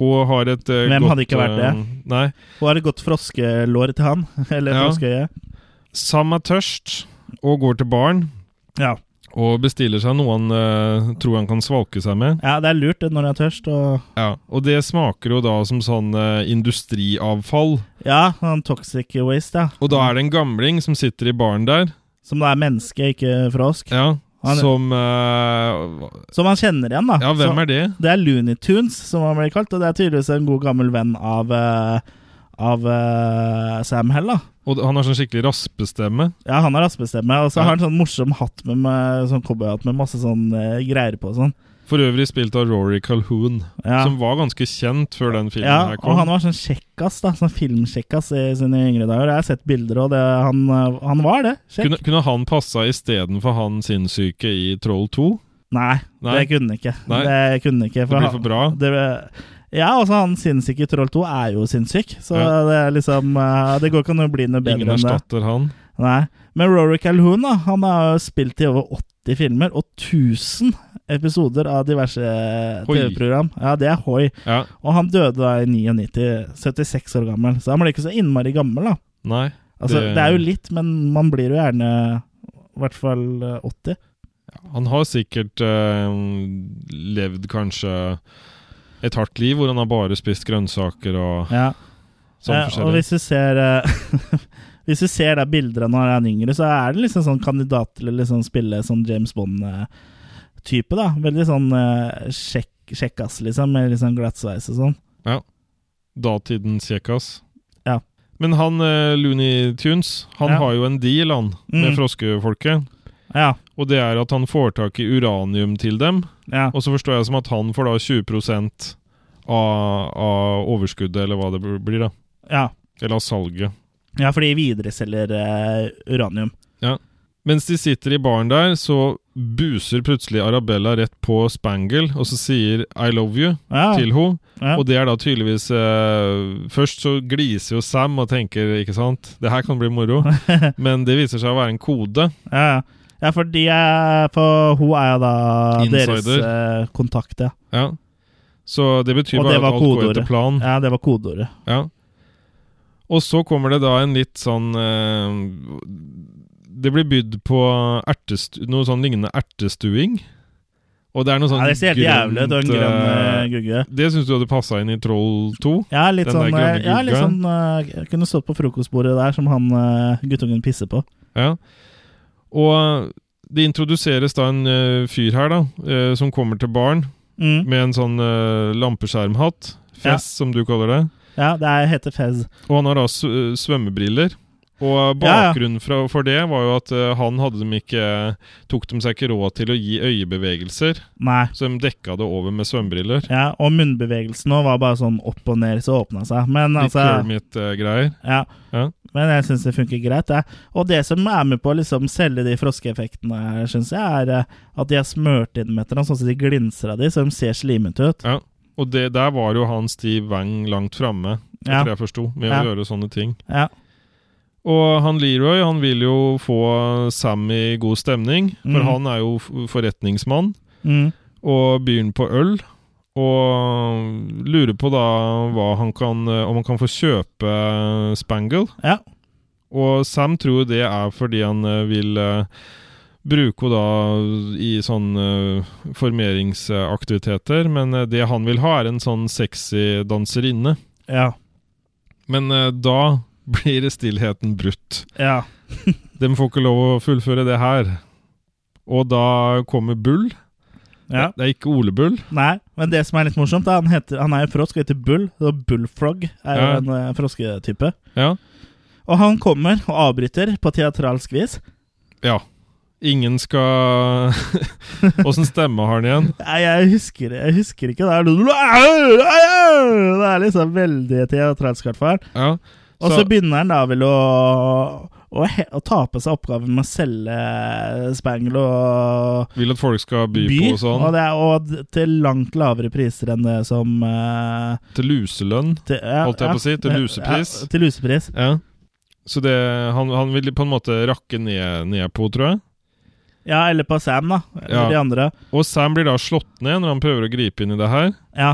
Hun har et eh, Hvem godt hadde ikke vært det? eh, Nei. Hun har et godt froskelår til han, eller Ja. froskeøye. Sam er tørst og går til baren. Ja. Og bestiller seg noe han eh, tror han kan svalke seg med. Ja, det er lurt det, når jeg er tørst. Og Ja. Og det smaker jo da som sånn eh, industriavfall. ja, sånn toxic waste, ja. Og da er det en gamling som sitter i baren der, Som da er menneske, ikke frosk. ja, Han- som eh, Som man kjenner igjen, da. Ja, hvem er det? Det er Looney Tunes, som han blir kalt. Og det er tydeligvis en god gammel venn av, eh, av eh, Sam Hell, da. Og han har sånn skikkelig raspestemme. Ja, han har raspestemme, og så Ja. har han sånn morsom hatt med, med sånn cowboyhatt med masse sånn eh, greier på og sånn. For øvrig spilt av Rory Calhoun, Ja. som var ganske kjent før den filmen Ja, her og kom. han var sånn kjekkas, da. Sånn filmkjekkas i sine yngre dager. Jeg har sett bilder, og det, han, eh, han var det. Kjekk. kunne, kunne han passa istedenfor han sinnssyke i Troll 2? Nei, Nei. det kunne ikke. Nei. Det kunne ikke. Det blir han- for bra. det, ja, altså han sinnssyke i Troll 2 er jo sinnssyk, så Ja. det er liksom eh, Det går ikke an å bli noe bedre Ingen enn det. erstatter han. Nei. Men Rory Calhoun da, han har jo spilt i over 80 filmer og 1000 episoder av diverse Hoi. TV-program. Ja, det er hoi. Ja, Og han døde da i 99, 76 år gammel, så han ble ikke så innmari gammel, da. nei. Altså, det, Det- er jo litt, men man blir jo gjerne i hvert fall eh, 80. Han har sikkert eh, levd kanskje et hardt liv hvor han har bare spist grønnsaker og Ja. sånn Eh, og forskjellig. hvis du ser eh, Hvis du ser da bilder av når han er yngre, så er det liksom sånn kandidat til å liksom spille sånn James Bond-type, da. Veldig sånn eh, sjekk, sjekkass, liksom, med litt sånn glattsveis og sånn. Datidens kjekkas. Ja. Men han eh, Looney Tunes, han Ja. har jo en deal, han, med Mm. froskefolket. Ja. Og det er at han får tak i uranium til dem, ja. og så forstår jeg som at han får da 20 av, av overskuddet, eller hva det blir, da. Ja, Eller av salget. ja fordi videreselger eh, uranium. Mens de sitter i baren der, så buser plutselig Arabella rett på Spangle, og så sier 'I love you' Ja, til henne. ja. Og det er da tydeligvis eh, Først så gliser jo Sam og tenker, ikke sant Det her kan bli moro. Men det viser seg å være en kode. ja, ja. ja for, de er, for hun er jo da deres Insider. eh, kontakt, ja. Ja. Så det betyr Og bare det var at alt går kodeordet. etter planen. Ja. Ja, det var kodeordet. Og så kommer det da en litt sånn eh, Det blir bydd på ertest, noe sånn lignende ertestuing. Og det er noe sånn Ja, det ser helt jævlig ut, og en grønn eh, eh, gugge. Det syns du hadde passa inn i Troll 2? Ja, litt Den sånn, der grønne eh, ja, litt guggen. sånn eh, Jeg kunne stått på frokostbordet der som han eh, guttungen pisser på. Ja. Og det introduseres da en eh, fyr her, da, eh, som kommer til baren Mm. med en sånn eh, lampeskjermhatt. Fess, Ja. som du kaller det. Ja, det er, heter Fez. Og han har da s- øh, svømmebriller. Og Ja, ja. bakgrunnen fra, for det var jo at øh, han hadde dem ikke tok dem seg ikke råd til å gi øyebevegelser, Nei. så de dekka det over med svømmebriller. Ja, og munnbevegelsen òg var bare sånn opp og ned, så åpna seg. Men Litt altså Kermit-greier. ja. Ja. Men jeg syns det funker greit, jeg. Og det som er med på å liksom selge de froskeeffektene, syns jeg, er eh, at de er smurt inn med et eller annet, sånn at de glinser av de, så de ser slimete ut. Ja. Og det, der var jo han Steve Wang langt framme, Ja. etter jeg forsto, med Ja. å gjøre sånne ting. Ja. Og han Leroy han vil jo få Sam i god stemning, for Mhm. han er jo f- forretningsmann. Mm. og byr på øl. Og lurer på da hva han kan, om han kan få kjøpe Spangle. Ja. Og Sam tror jo det er fordi han eh, vil eh, bruke henne da i sånne eh, formeringsaktiviteter. Men eh, det han vil ha, er en sånn sexy danserinne. Ja. Men eh, da blir stillheten brutt. Ja. De får ikke lov å fullføre det her. Og da kommer Bull. ja. Det er ikke Ole Bull. Nei, men det som er litt morsomt, er han, heter, han er jo frosk og heter Bull. Og Bullfrog er jo Ja. en eh, frosketype. Ja. Og han kommer og avbryter på teatralsk vis. Ja. Ingen skal Åssen stemme har han igjen? Nei, jeg husker, jeg husker ikke. Det er, det er liksom veldig teatralsk, i hvert fall. Ja. Og så Så, begynner han da vel å, å, he- å ta på seg oppgaven med å selge Spangle og vil at folk skal by, by. på og sånn. Og, det er, og d- til langt lavere priser enn det som eh, Til luselønn. til, ja, Holdt jeg på å si, til ja, lusepris. Ja, til lusepris. Ja. Så det, han, han vil på en måte rakke ned, ned på, tror jeg. Ja, eller på Sam, da. Eller Ja. de andre. Og Sam blir da slått ned når han prøver å gripe inn i det her. Ja.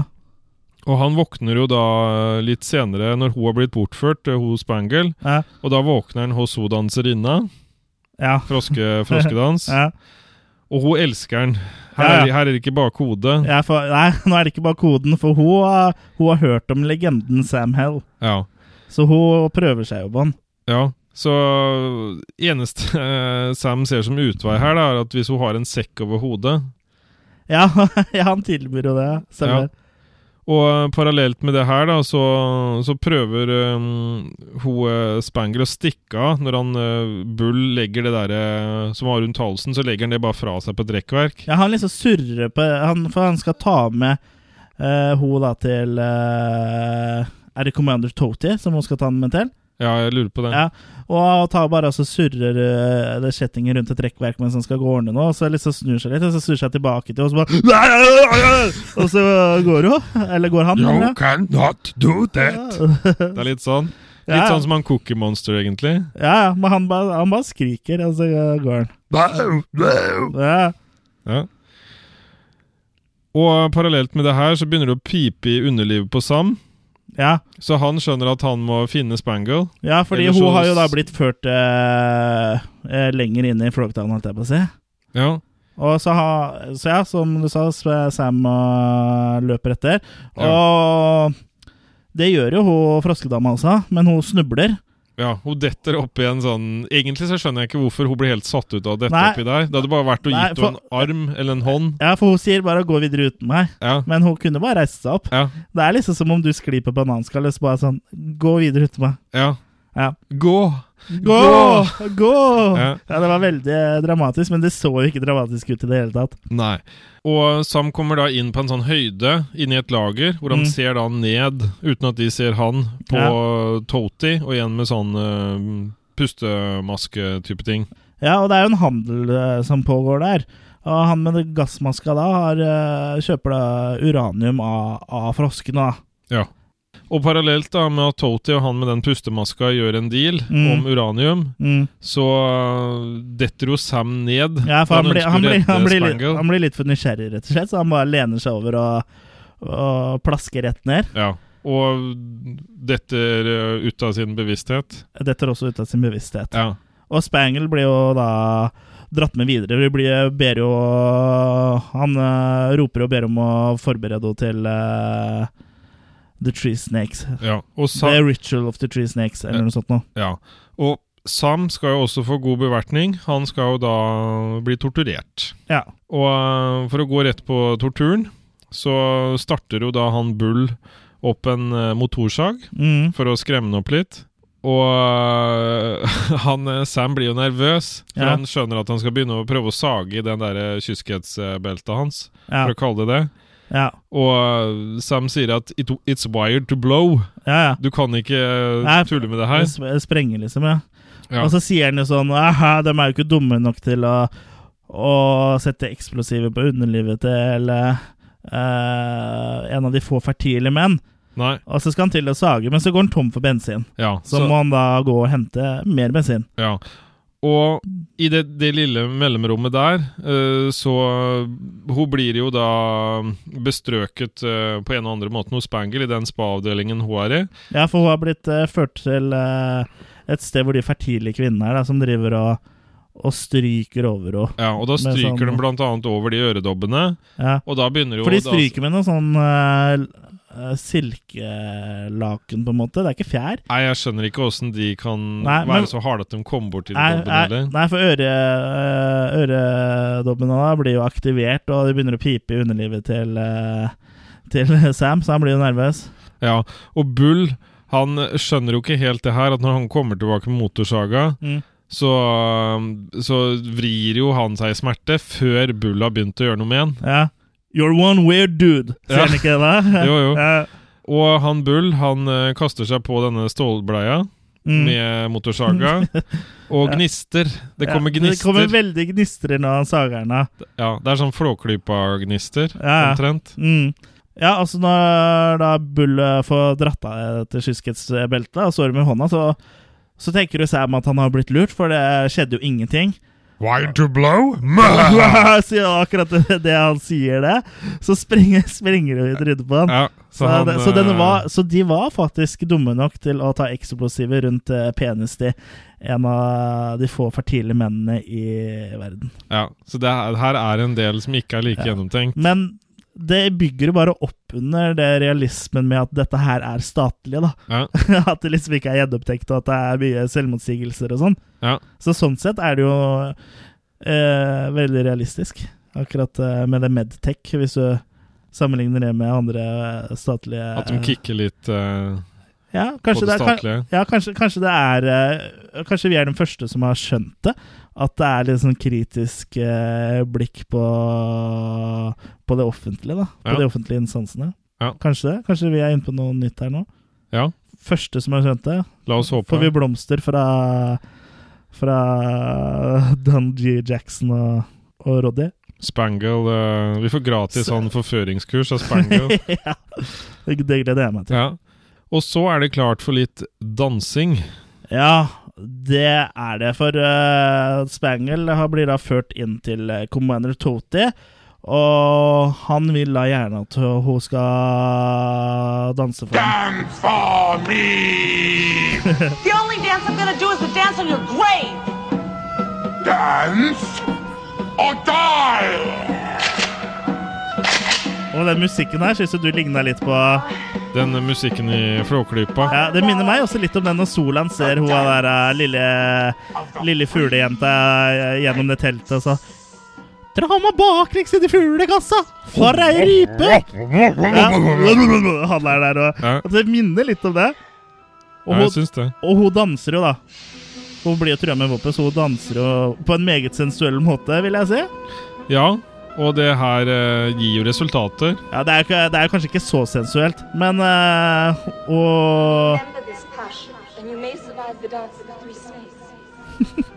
Og han våkner jo da eh, litt senere, når hun har blitt bortført, eh, hun Spangle. Ja. Og da våkner han hos hun danserinna. Ja. Froske, froskedans. ja. Og hun elsker han. Her, Ja, ja. Er, her er det ikke bare kode. ja for, nei, nå er det ikke bare koden, for hun, har- hun har hørt om legenden Sam Hell. ja. Så hun prøver seg jo på han. Ja, så eneste eh, Sam ser som utvei her, da, er at hvis hun har en sekk over hodet Ja, ja, han tilbyr jo det. Stemmer. Og eh, parallelt med det her, da, så, så prøver eh, hun eh, Spangle å stikke av. Når han eh, Bull legger det derre som var rundt halsen, så legger han det bare fra seg på et rekkverk. Ja, han liksom surrer på han, For han skal ta med eh, hun da til eh, Er det Commander Toti som hun skal ta med til? Ja, jeg lurer på det. Ja, og tar bare altså surrer eh, det kjettingen rundt et rekkverk mens han skal gå og ordne noe, og så liksom snur seg litt, og så snur seg tilbake til, og så bare Og så går hun. Eller går han. eller? cannot do that. Det er litt sånn. Litt Ja. sånn som han Cookie Monster, egentlig. Ja, ja, men han bare, han bare skriker, og så går han. Ja, Ja. Og parallelt med det her, så begynner det å pipe i underlivet på Sam. ja. Så han skjønner at han må finne Spangle. ja fordi Ellers så- hun har jo da blitt ført eh, eh, lenger inn i Frogtown, holdt jeg på å si. Ja. Og så, ha, så ja, som du sa, så Sam eh, løper etter. Ja. Og det gjør jo hun froskedama også, men hun snubler. ja. Hun detter oppi en sånn Egentlig så skjønner jeg ikke hvorfor hun blir helt satt ut av å dette Nei. oppi der. Det hadde bare vært å Nei, gitt for- henne en arm eller en hånd. Ja, for hun sier bare 'gå videre uten meg', Ja. men hun kunne bare reise seg opp. Ja. Det er liksom som om du sklir på bananskallet, så bare sånn 'gå videre uten meg'. ja. Ja. Gå! Gå! Gå! Ja. Ja. det var veldig eh, dramatisk, men det så jo ikke dramatisk ut i det hele tatt. Nei. Og Sam kommer da inn på en sånn høyde inni et lager, hvor han Mm. ser da ned, uten at de ser han, på Toti, og igjen med sånn eh, pustemaske-type ting. Ja, og det er jo en handel eh, som pågår der. Og han med det gassmaska da har, eh, kjøper da uranium av, av froskene, da. Og parallelt da med at Toti og han med den pustemaska gjør en deal Mm. om uranium, Mm. så øh, detter jo Sam ned. Ja, for han, blir, ønsker å han, blir, redde han, blir, litt, Spangle. han blir litt for nysgjerrig, rett og slett, så han bare lener seg over og, og plasker rett ned. Ja, og detter øh, ut av sin bevissthet. Detter også ut av sin bevissthet. Ja. Og Spangle blir jo da dratt med videre. Vi blir, ber jo Han eh, roper og ber om å forberede henne til eh, The Tree Snakes. Ja. Og, Sa The Ritual of the Tree Snakes, eller noe sånt noe. ja. og Sam skal jo også få god bevertning. Han skal jo da bli torturert. Ja. Og eh, for å gå rett på torturen, så starter jo da han Bull opp en eh, motorsag Mm. for å skremme opp litt. Og eh, han, eh, Sam blir jo nervøs, for Ja. han skjønner at han skal begynne å prøve å sage i den der eh, kyskhetsbeltet hans, Ja. for å kalle det det. Ja. Og eh, Sam sier at It, 'it's wired to blow'. Ja, ja. Du kan ikke eh, Nei, tulle med det her. Sp sprenge, liksom. Ja. Ja. Og så sier han jo sånn Aha, de er jo ikke dumme nok til å, å sette eksplosiver på underlivet til eh, en av de få fertile menn. Nei, Og så skal han til å sage, men så går han tom for bensin. ja. Så, må han da gå og hente mer bensin. Ja. Og i det, det lille mellomrommet der, eh, så Hun blir jo da mm, bestrøket eh, på en og andre måten hos Spangle i den spa-avdelingen hun er i. Ja, for hun har blitt eh, ført til eh, et sted hvor de fertile kvinnene er, da, som driver og, og stryker over henne. Ja, Og da Med stryker sånn- de blant annet over de øredobbene, Ja. og da begynner jo For de da- stryker med noe sånn eh, eh, silkelaken, på en måte. Det er ikke fjær. Nei, jeg skjønner ikke åssen de kan Nei, være men- så harde at de kommer bort til de Nei, dobbene. nei, eller? nei, for øre, øh, øredobbene da blir jo aktivert, og det begynner å pipe i underlivet til, øh, til Sam, så han blir jo nervøs. Ja, og Bull han skjønner jo ikke helt det her, at når han kommer tilbake med motorsaga, Mm. så, så vrir jo han seg i smerte før Bull har begynt å gjøre noe med han. Ja. You're one weird dude, sier Ja. han ikke det? Jo, jo. Ja. Og han Bull han eh, kaster seg på denne stålbleia Mm. med motorsaga, og gnister. Det Ja, kommer Det kommer gnister. veldig gnister når han sager den av. Ja, det er sånn flåklypa-gnister, Ja, ja. omtrent. Mm. Ja, altså når da Bull øh, får dratt av etter kyskhetsbeltet og står med hånda, så, så tenker jo Sam at han har blitt lurt, for det skjedde jo ingenting. Wine to blow? sier han akkurat det, det han sier det, så springer, springer hun i trynet på han. Ja, Så, han, det- så, den eh, var, så de var faktisk dumme nok til å ta eksplosiver rundt eh, penis til en av de få fertile mennene i verden. Ja, så det er- her er en del som ikke er like gjennomtenkt. Men det bygger jo bare opp under det realismen med at dette her er statlig, da. Ja, At det liksom ikke er gjennomtenkt, og at det er mye selvmotsigelser og sånn. ja. Så sånn sett er det jo eh, veldig realistisk, akkurat eh, med det Medtech, hvis du sammenligner det med andre eh, statlige At de kicker litt eh, ja, kanskje på det det er- kan- statlige. Ja, kanskje, kanskje det er eh, Kanskje vi er den første som har skjønt det. At det er litt sånn kritisk eh, blikk på, på det offentlige, da. På Ja. de offentlige instansene. Ja. Kanskje det? Kanskje vi er inne på noe nytt her nå? Ja, Første som har skjønt det. la oss håpe. Får vi blomster fra Fra Don G. Jackson og, og Roddy. Spangle eh, Vi får gratis sånn forføringskurs av Spangle. ja. Det det gleder jeg meg til. ja. Og så er det klart for litt dansing. Ja, det er det. For eh, Spangle har- blir da ført inn til eh, Commander Toti. Og han vil da gjerne at hun skal danse for ham. Done for me! The only dance I'm gonna do is the dance on your grave. Dance or die! Og den musikken her syns jo du ligna litt på Den musikken i Flåklypa. Ja, Det minner meg også litt om den når Solan ser hun der eh, lille, lille fuglejenta eh, gjennom det teltet og så Dra meg baklengs inn i fuglekassa, for ei rype! Ja. Han er der og Ja. at Det minner litt om det. Og Ja, jeg hun, syns det. og hun danser jo, da. Hun blir jo trua med våpen, så hun danser jo på en meget sensuell måte, vil jeg si. Ja, og det her eh, gir jo resultater. Ja, Det er, jo ikke- det er jo kanskje ikke så sensuelt, men eh, Og Remember this passion, and you may survive the dance of the three snakes.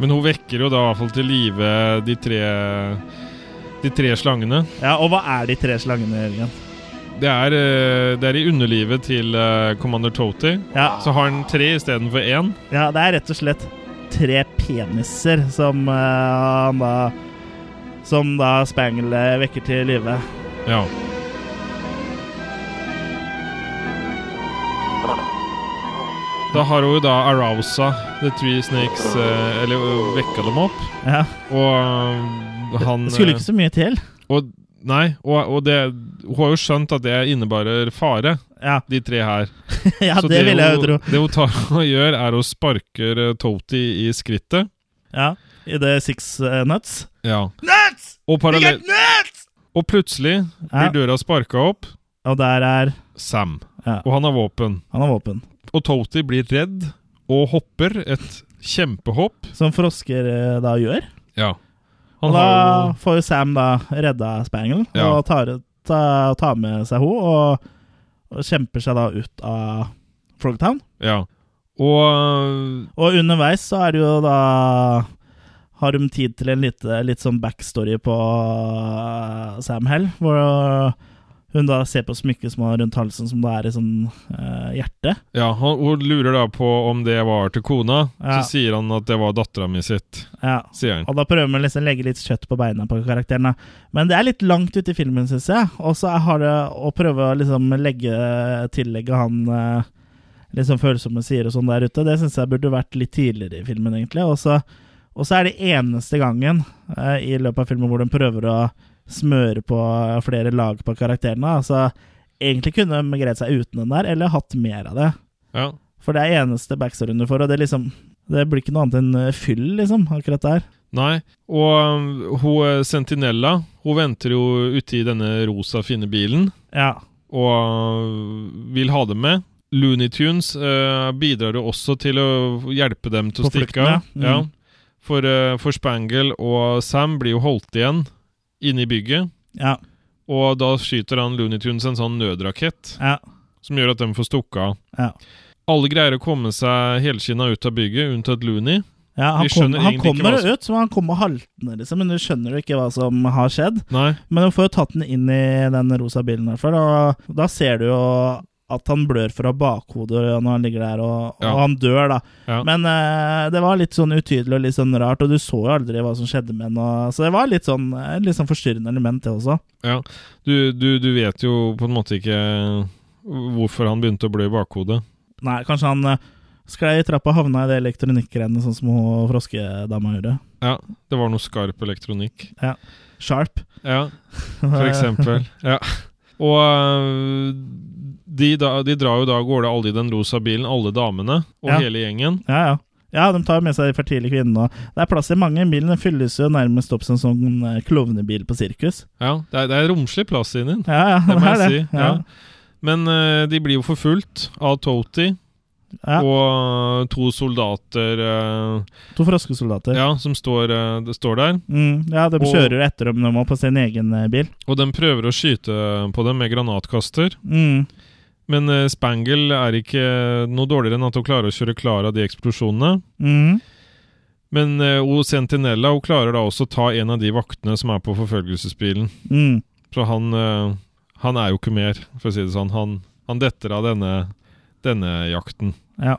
Men hun vekker jo da i hvert fall til live de tre de tre slangene. Ja, og hva er de tre slangene, Jørgen? Det er, eh, det er i underlivet til eh, Commander Toti. Ja. Så har han tre istedenfor én. Ja, det er rett og slett tre peniser som eh, han da Som da Spangle vekker til live. Ja. Da har hun jo da arousa The Three Snakes, eh, eller ø, vekka dem opp, Ja. og ø, han Det skulle eh, ikke så mye til. Og, nei, og, og det Hun har jo skjønt at det innebærer fare, Ja, de tre her. ja Så det, vil jeg jo hun- tro. Det hun tar og gjør, er å sparke eh, Toti i skrittet. Ja, I det Six eh, Nuts. Ja. Og, parallell- og plutselig Ja. blir døra sparka opp. Og der er Sam. Ja. Og han har våpen. Han har våpen. Og Toti blir redd og hopper et kjempehopp. Som frosker eh, da gjør. Ja. Og Han da har jo får jo Sam da redda Spangle Ja. og tar, ta- tar med seg henne og, og kjemper seg da ut av Frogtown. Ja. Og Og underveis så er det jo da Har de tid til en lite, litt sånn backstory på eh, Sam Hell, hvor hun da ser på smykket som har rundt halsen, som da er i sånn eh, hjerte. ja, han, hun lurer da på om det var til kona. Ja. Så sier han at det var dattera mi sitt, Ja. sier han. Og da prøver man liksom å legge litt kjøtt på beina på karakteren. da. Men det er litt langt ute i filmen, syns jeg. Og så har det å prøve å liksom legge tillegge han eh, liksom følsomme sider og sånn der ute, det syns jeg burde vært litt tidligere i filmen, egentlig. Og så og så er det eneste gangen eh, i løpet av filmen hvor de prøver å smøre på eh, flere lag på karakterene. Altså, egentlig kunne de greid seg uten den der, eller hatt mer av det. Ja. For det er eneste backstoryen du får, og det liksom Det blir ikke noe annet enn eh, fyll, liksom, akkurat der. Nei. Og øhm, hun eh, Sentinella, hun venter jo ute i denne rosa, fine bilen Ja. og øh, vil ha dem med. Looney Tunes eh, bidrar jo også til å hjelpe dem til å På stikke flukten, av. ja. Mm. Ja. For, eh, for Spangle og Sam blir jo holdt igjen inne i bygget. Ja, Og da skyter han Looney Tunes en sånn nødrakett ja, som gjør at de får stukket av. ja. Alle greier å komme seg helskinna ut av bygget, unntatt Looney. ja han, Vi kom, skjønner han egentlig ikke kommer hva som- ut, så han kommer haltende, liksom, men du skjønner jo ikke hva som har skjedd. Nei. Men du får jo tatt den inn i den rosa bilen, i hvert fall, og da ser du jo at han blør fra bakhodet når han ligger der, og, Ja. og han dør, da. Ja. Men eh, det var litt sånn utydelig og litt sånn rart, og du så jo aldri hva som skjedde med henne, og- så det var litt sånn, eh, litt sånn forstyrrende element, det også. Ja. Du, du, du vet jo på en måte ikke hvorfor han begynte å blø i bakhodet. Nei, kanskje han eh, sklei i trappa og havna i det elektronikkgreiene, sånn som hun froskedama gjorde. Ja, det var noe skarp elektronikk. Sharp. Ja, for eksempel. Ja. Og øh, de, da, de drar jo da av gårde, alle i den rosa bilen, alle damene og Ja. hele gjengen. Ja, ja. Ja, de tar med seg de fertile kvinnene. og Det er plass til mange. Bilen den fylles jo nærmest opp som en sånn eh, klovnebil på sirkus. Ja, det er, det er romslig plass inni den. Ja, ja, Det må jeg er si. Ja. Ja. Men øh, de blir jo forfulgt av Toti Ja. og eh, to soldater øh, To froskesoldater. Ja. ja, som står, øh, det står der. Mm, ja, de Og- kjører jo etter dem de må på sin egen eh, bil. Og de prøver å skyte på dem med granatkaster. Mm. Men øh, Spangle er ikke eh, noe dårligere enn at hun klarer å kjøre klar av de eksplosjonene. Mm. Men uh, Sentinella hun klarer da også å ta en av de vaktene som er på forfølgelsesbilen. Mm. Så han, eh, han er jo ikke mer, for å si det sånn. Han, han detter av denne, denne jakten. Ja.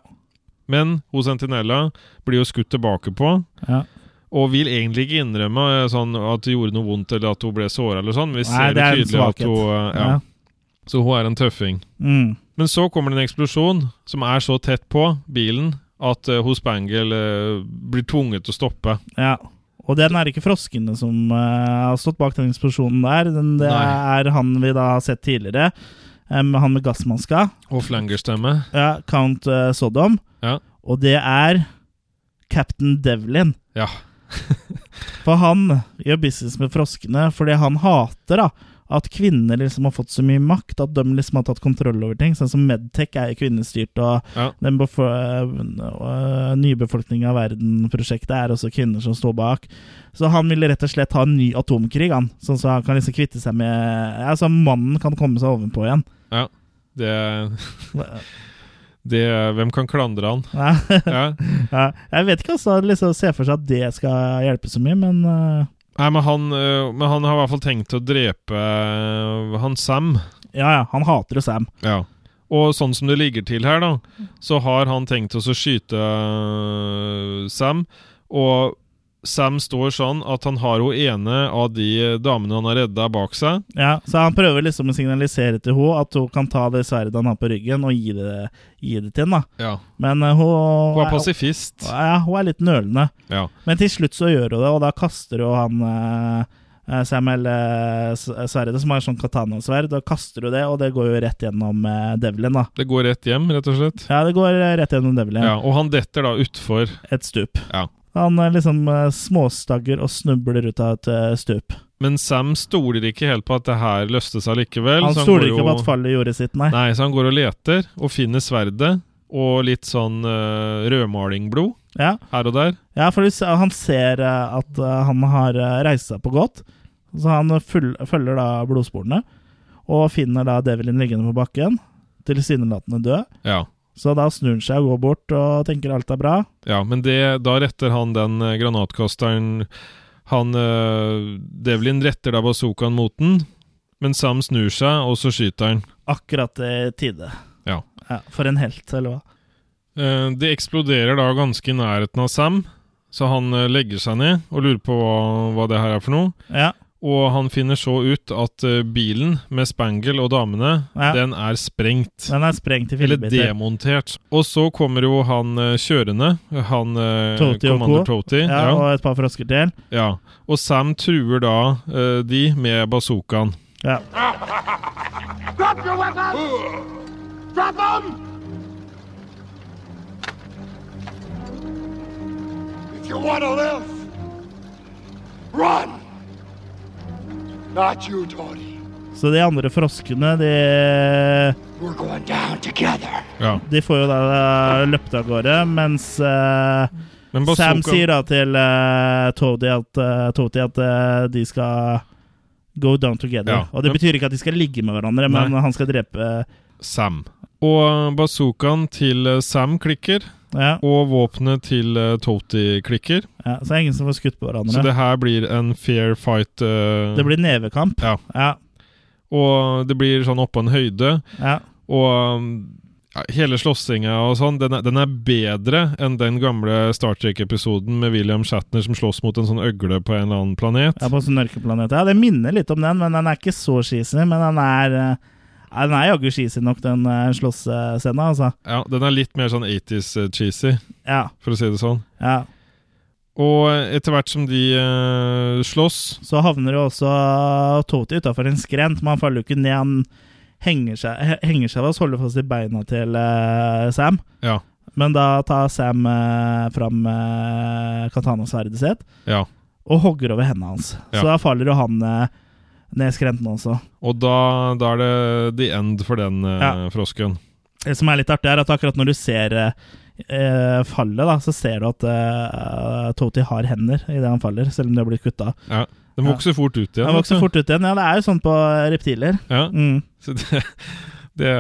Men hun Sentinella blir jo skutt tilbake på, ja. og vil egentlig ikke innrømme eh, sånn, at det gjorde noe vondt eller at hun ble såra eller sånn. men Vi Nei, ser det det er en tydelig at svakhet. hun eh, ja. Ja. Så hun er en tøffing. Mm. Men så kommer det en eksplosjon som er så tett på bilen at uh, Spangle eh, blir tvunget til å stoppe. ja. Og den er ikke froskene som eh, har stått bak den eksplosjonen der. Den, det Nei. er han vi da har sett tidligere. Em, han med gassmaska. Og flangerstemme. Ja, Count eh, Sodom. Ja. Og det er Captain Devlin. Ja. For han gjør business med froskene fordi han hater da at kvinner liksom har fått så mye makt, at de liksom har tatt kontroll over ting. Sånn som Medtech er jo kvinnestyrt, og Ja. den befo- øh, nybefolkning av verden-prosjektet er også kvinner som står bak. Så han ville rett og slett ha en ny atomkrig, han. Sånn så han kan liksom kvitte seg med Ja, så mannen kan komme seg ovenpå igjen. Det, det Hvem kan klandre han? Nei. Ja. Ja, jeg vet ikke altså, liksom, ser for seg at det skal hjelpe så mye, men øh, Nei, men han, øh, men han har i hvert fall tenkt å drepe øh, han Sam. ja, ja, han hater jo Sam. Ja. Og sånn som det ligger til her, da, så har han tenkt oss å skyte øh, Sam. Og Sam står sånn at han har hun ene av de damene han har redda, bak seg. Ja, så han prøver liksom å signalisere til henne at hun kan ta det sverdet han har på ryggen, og gi det, gi det til henne. da. Men eh, hun Hun er pasifist. Ja, hun er litt nølende. Ja. Men til slutt så gjør hun det, og da kaster hun han eh, eh, Samuel eh, s- sverdet, som har sånn katana-sverd, og kaster hun det, og det går jo rett gjennom eh, Devlin, da. Det går rett hjem, rett og slett. Ja, det går eh, rett gjennom Devlin. Ja, og han detter da utfor. Et stup. Ja. Han eh, liksom eh, småstagger og snubler ut av et eh, stup. Men Sam stoler ikke helt på at det her løste seg likevel. Han så stoler går ikke jo- på at fallet gjorde sitt, nei. Nei, så han går og leter, og finner sverdet og litt sånn eh, rødmalingblod Ja. her og der. Ja, for du se- han ser eh, at eh, han har eh, reist seg på godt, så han full, følger da blodsporene, og finner da Develin liggende på bakken, tilsynelatende død. Ja. Så da snur han seg og går bort og tenker alt er bra. Ja, men det, da retter han den eh, granatkasteren Han eh, Devlin retter da bazookaen mot den, men Sam snur seg, og så skyter han. Akkurat i tide. Ja. Ja, for en helt, eller hva? Eh, det eksploderer da ganske i nærheten av Sam, så han eh, legger seg ned og lurer på hva, hva det her er for noe. Ja, Og han finner så ut at eh, bilen med Spangle og damene, Ja. den er sprengt. den er sprengt i Eller fillebiter. demontert. Og så kommer jo han eh, kjørende, han eh, Toti og Commander co. Toti. Ja, og et par frosker til. Ja, og Sam truer da eh, de med bazookaen. Ja. Drop your weapons! Drop them! If you want to live, run! Not you, Tony. Så de andre froskene, de, We're going down together. Ja. de får jo da løpt av gårde, mens eh, Men bazookaen- Sam sier da til uh, Tody at, eh, Toti at eh, de skal go down together. Ja, og det men- betyr ikke at de skal ligge med hverandre, men Nei. han skal drepe Sam. Og eh, bazookaen til eh, Sam klikker, ja, og våpenet til eh, Toti klikker. ja, Så det er ingen som får skutt på Så hverandre. Det, det her blir en fair fight. eh, blir nevekamp. Ja. Ja, Og det blir sånn oppå en høyde, ja. og um, ja, hele slåssinga og sånn, den er, den er bedre enn den gamle Star Trek-episoden med William Shatner som slåss mot en sånn øgle på en eller annen planet. Ja, på en sånn mørkeplanet. Ja, det minner litt om den, men den er ikke så cheesy. Men den er eh, ja, Den er jaggu cheesy nok, den eh, slåssscenen, altså. Ja, den er litt mer sånn 80s-cheesy, Ja, for å si det sånn. ja. Og etter hvert som de eh, slåss Så havner jo også Toti utafor en skrent, men han faller jo ikke ned. Han henger seg, he- henger seg fast, holder fast i beina til eh, Sam. Ja. Men da tar Sam eh, fram uh, katanasverdet sitt ja. og hogger over hendene hans. Ja. Så da faller jo han eh, ned skrenten også. Og da, da er det the end for den eh, Ja. frosken. Det som er litt artig, er at akkurat når du ser eh, eh, fallet, da, så ser du at uh, Toti har hender idet han faller, selv om de har blitt kutta. Ja. Den vokser fort ut igjen. Han vet vokser du. fort ut igjen. Ja, det er jo sånn på reptiler. Ja. Mm. Så det, det,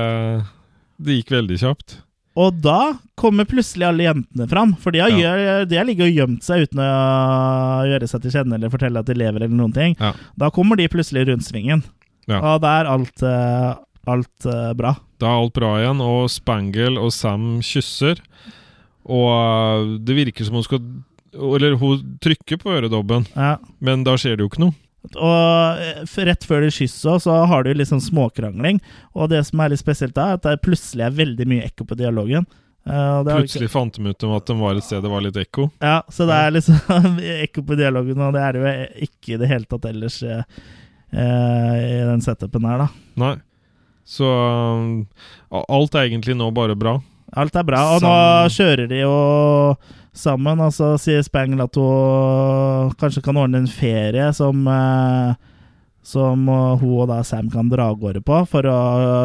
det gikk veldig kjapt. Og da kommer plutselig alle jentene fram, for de har, Ja. gjør, de har ligget og gjemt seg uten å gjøre seg til kjenne eller fortelle at de lever eller noen ting. Ja. Da kommer de plutselig rundt svingen, Ja. og da er alt, eh, alt eh, bra. Da er alt bra igjen, og Spangle og Sam kysser. Og eh, det virker som hun skal Eller hun trykker på øredobben, Ja. men da skjer det jo ikke noe. Og eh, f- rett før de kysser, så har de litt sånn småkrangling. Og det som er litt spesielt da, er at det plutselig er veldig mye ekko på dialogen. Eh, og det har vi ikke- Plutselig fant de ut om at de var et sted det var litt ekko. Ja, så det er liksom ekko på dialogen, og det er det jo ikke i det hele tatt ellers eh, eh, i den setupen her, da. Nei. Så um, alt er egentlig nå bare bra. Alt er bra, og nå Sammen. kjører de jo sammen, og så sier Spangel at hun kanskje kan ordne en ferie som eh, som eh, hun og da Sam kan dra av gårde på for å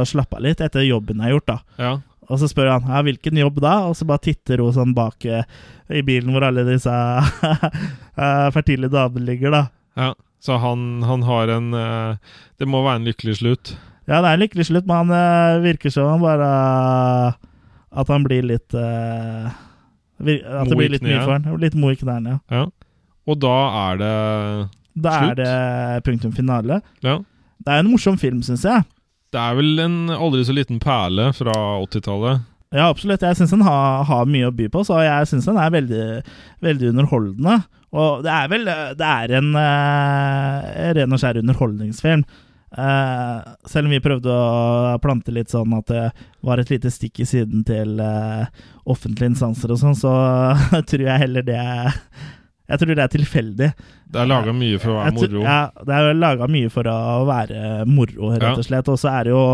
slappe av litt etter jobben jeg har gjort. da Ja. Og så spør han ja, hvilken jobb da, og så bare titter hun sånn bak eh, i bilen hvor alle disse eh, fertile damene ligger. da ja. Så han, han har en eh, Det må være en lykkelig slutt. Ja, det er en lykkelig slutt, men han eh, virker som han bare At han blir litt eh, vir Mo At i det blir litt mye knærne. for han. Litt mo i knærne, ja. Ja. Og da er det Da Slutt. er det punktum finale. Ja. Det er en morsom film, syns jeg. Det er vel en aldri så liten perle fra 80-tallet. Ja, absolutt. Jeg syns den har, har mye å by på, så jeg syns den er veldig, veldig underholdende. Og det er vel eh, Det er en eh, ren og skjær underholdningsfilm. Eh, selv om vi prøvde å plante litt sånn at det var et lite stikk i siden til eh, offentlige instanser og sånn, så tror jeg heller det er Jeg tror det er tilfeldig. Det er laga mye for å være Jeg tror- moro. Ja, det er jo laga mye for å være moro, rett Ja. og slett. Og så er det jo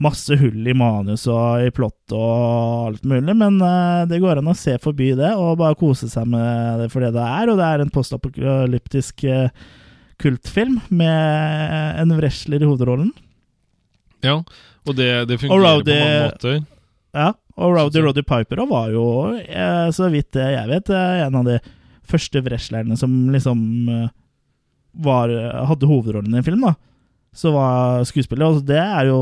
masse hull i manus og i plott og alt mulig, men eh, det går an å se forbi det og bare kose seg med det for det det er. Og det er en postapokalyptisk eh, kultfilm med en wrestler i hovedrollen. Ja, og det, det fungerer Og på Rowdy- mange måter. Ja, og Rowdy Roddy Piper også var jo, eh, så vidt det jeg vet, eh, en av de første wrestlerne som liksom eh, var, hadde hovedrollen i en film, da. Så var skuespiller, og det er jo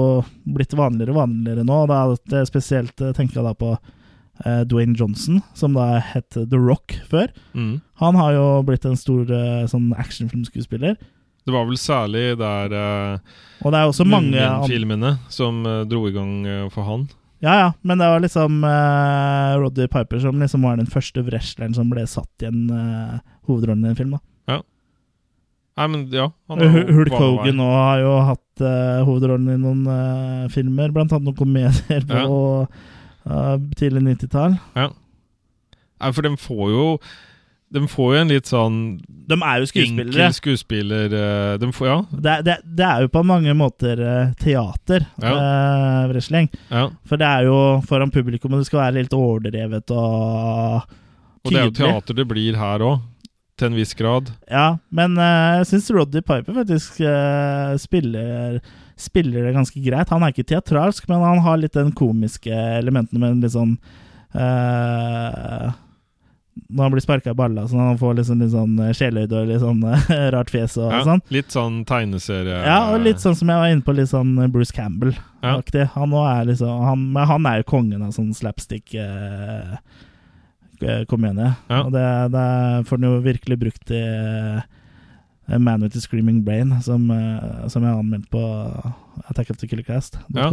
blitt vanligere og vanligere nå. Da, at, eh, spesielt eh, tenker jeg da på eh, Dwayne Johnson, som da het The Rock før. Mm. Han har jo blitt en stor eh, sånn actionfilmskuespiller. Det var vel særlig der uh, Og det er også mange andre filmene som eh, dro i gang eh, for han. Ja, ja, men det var liksom uh, Roddy Piper som liksom var den første wrestleren som ble satt i en eh, hovedrollen i en film. da. Nei, men ja. han Og er Hu- jo Hulk på alle Hogan veier. nå har jo hatt eh, hovedrollen i noen eh, filmer, blant annet noen komedier på eh, tidlig 90-tall. Nei, for de får jo de får jo en litt sånn De er jo skuespillere. enkel skuespiller eh, de får, Ja. Det, er- det, det er jo på mange måter eh, teater, eh, wrestling. ja. For det er jo foran publikum, og det skal være litt overdrevet og Og det er jo tydelig. teater det blir her òg. Til en viss grad. Ja, men eh, jeg syns Roddy Piper faktisk eh, spiller, spiller det ganske greit. Han er ikke teatralsk, men han har litt den komiske elementen med en litt sånn eh, Når han blir sparka i balla, så han får litt sånn, litt sånn eh, sjeløyd og litt sånn eh, rart fjes og Ja, sånn. Litt sånn tegneserie Ja, og litt sånn som jeg var inne på, litt sånn Bruce Campbell-aktig. Han, også er liksom, han, men han er jo kongen av sånn slapstick eh, eh, komedie. Ja. Og det, det får han jo virkelig brukt i eh, Man with the Screaming Brain, som, eh, som jeg har anmeldt på Attack of the Killer Cast. Ja.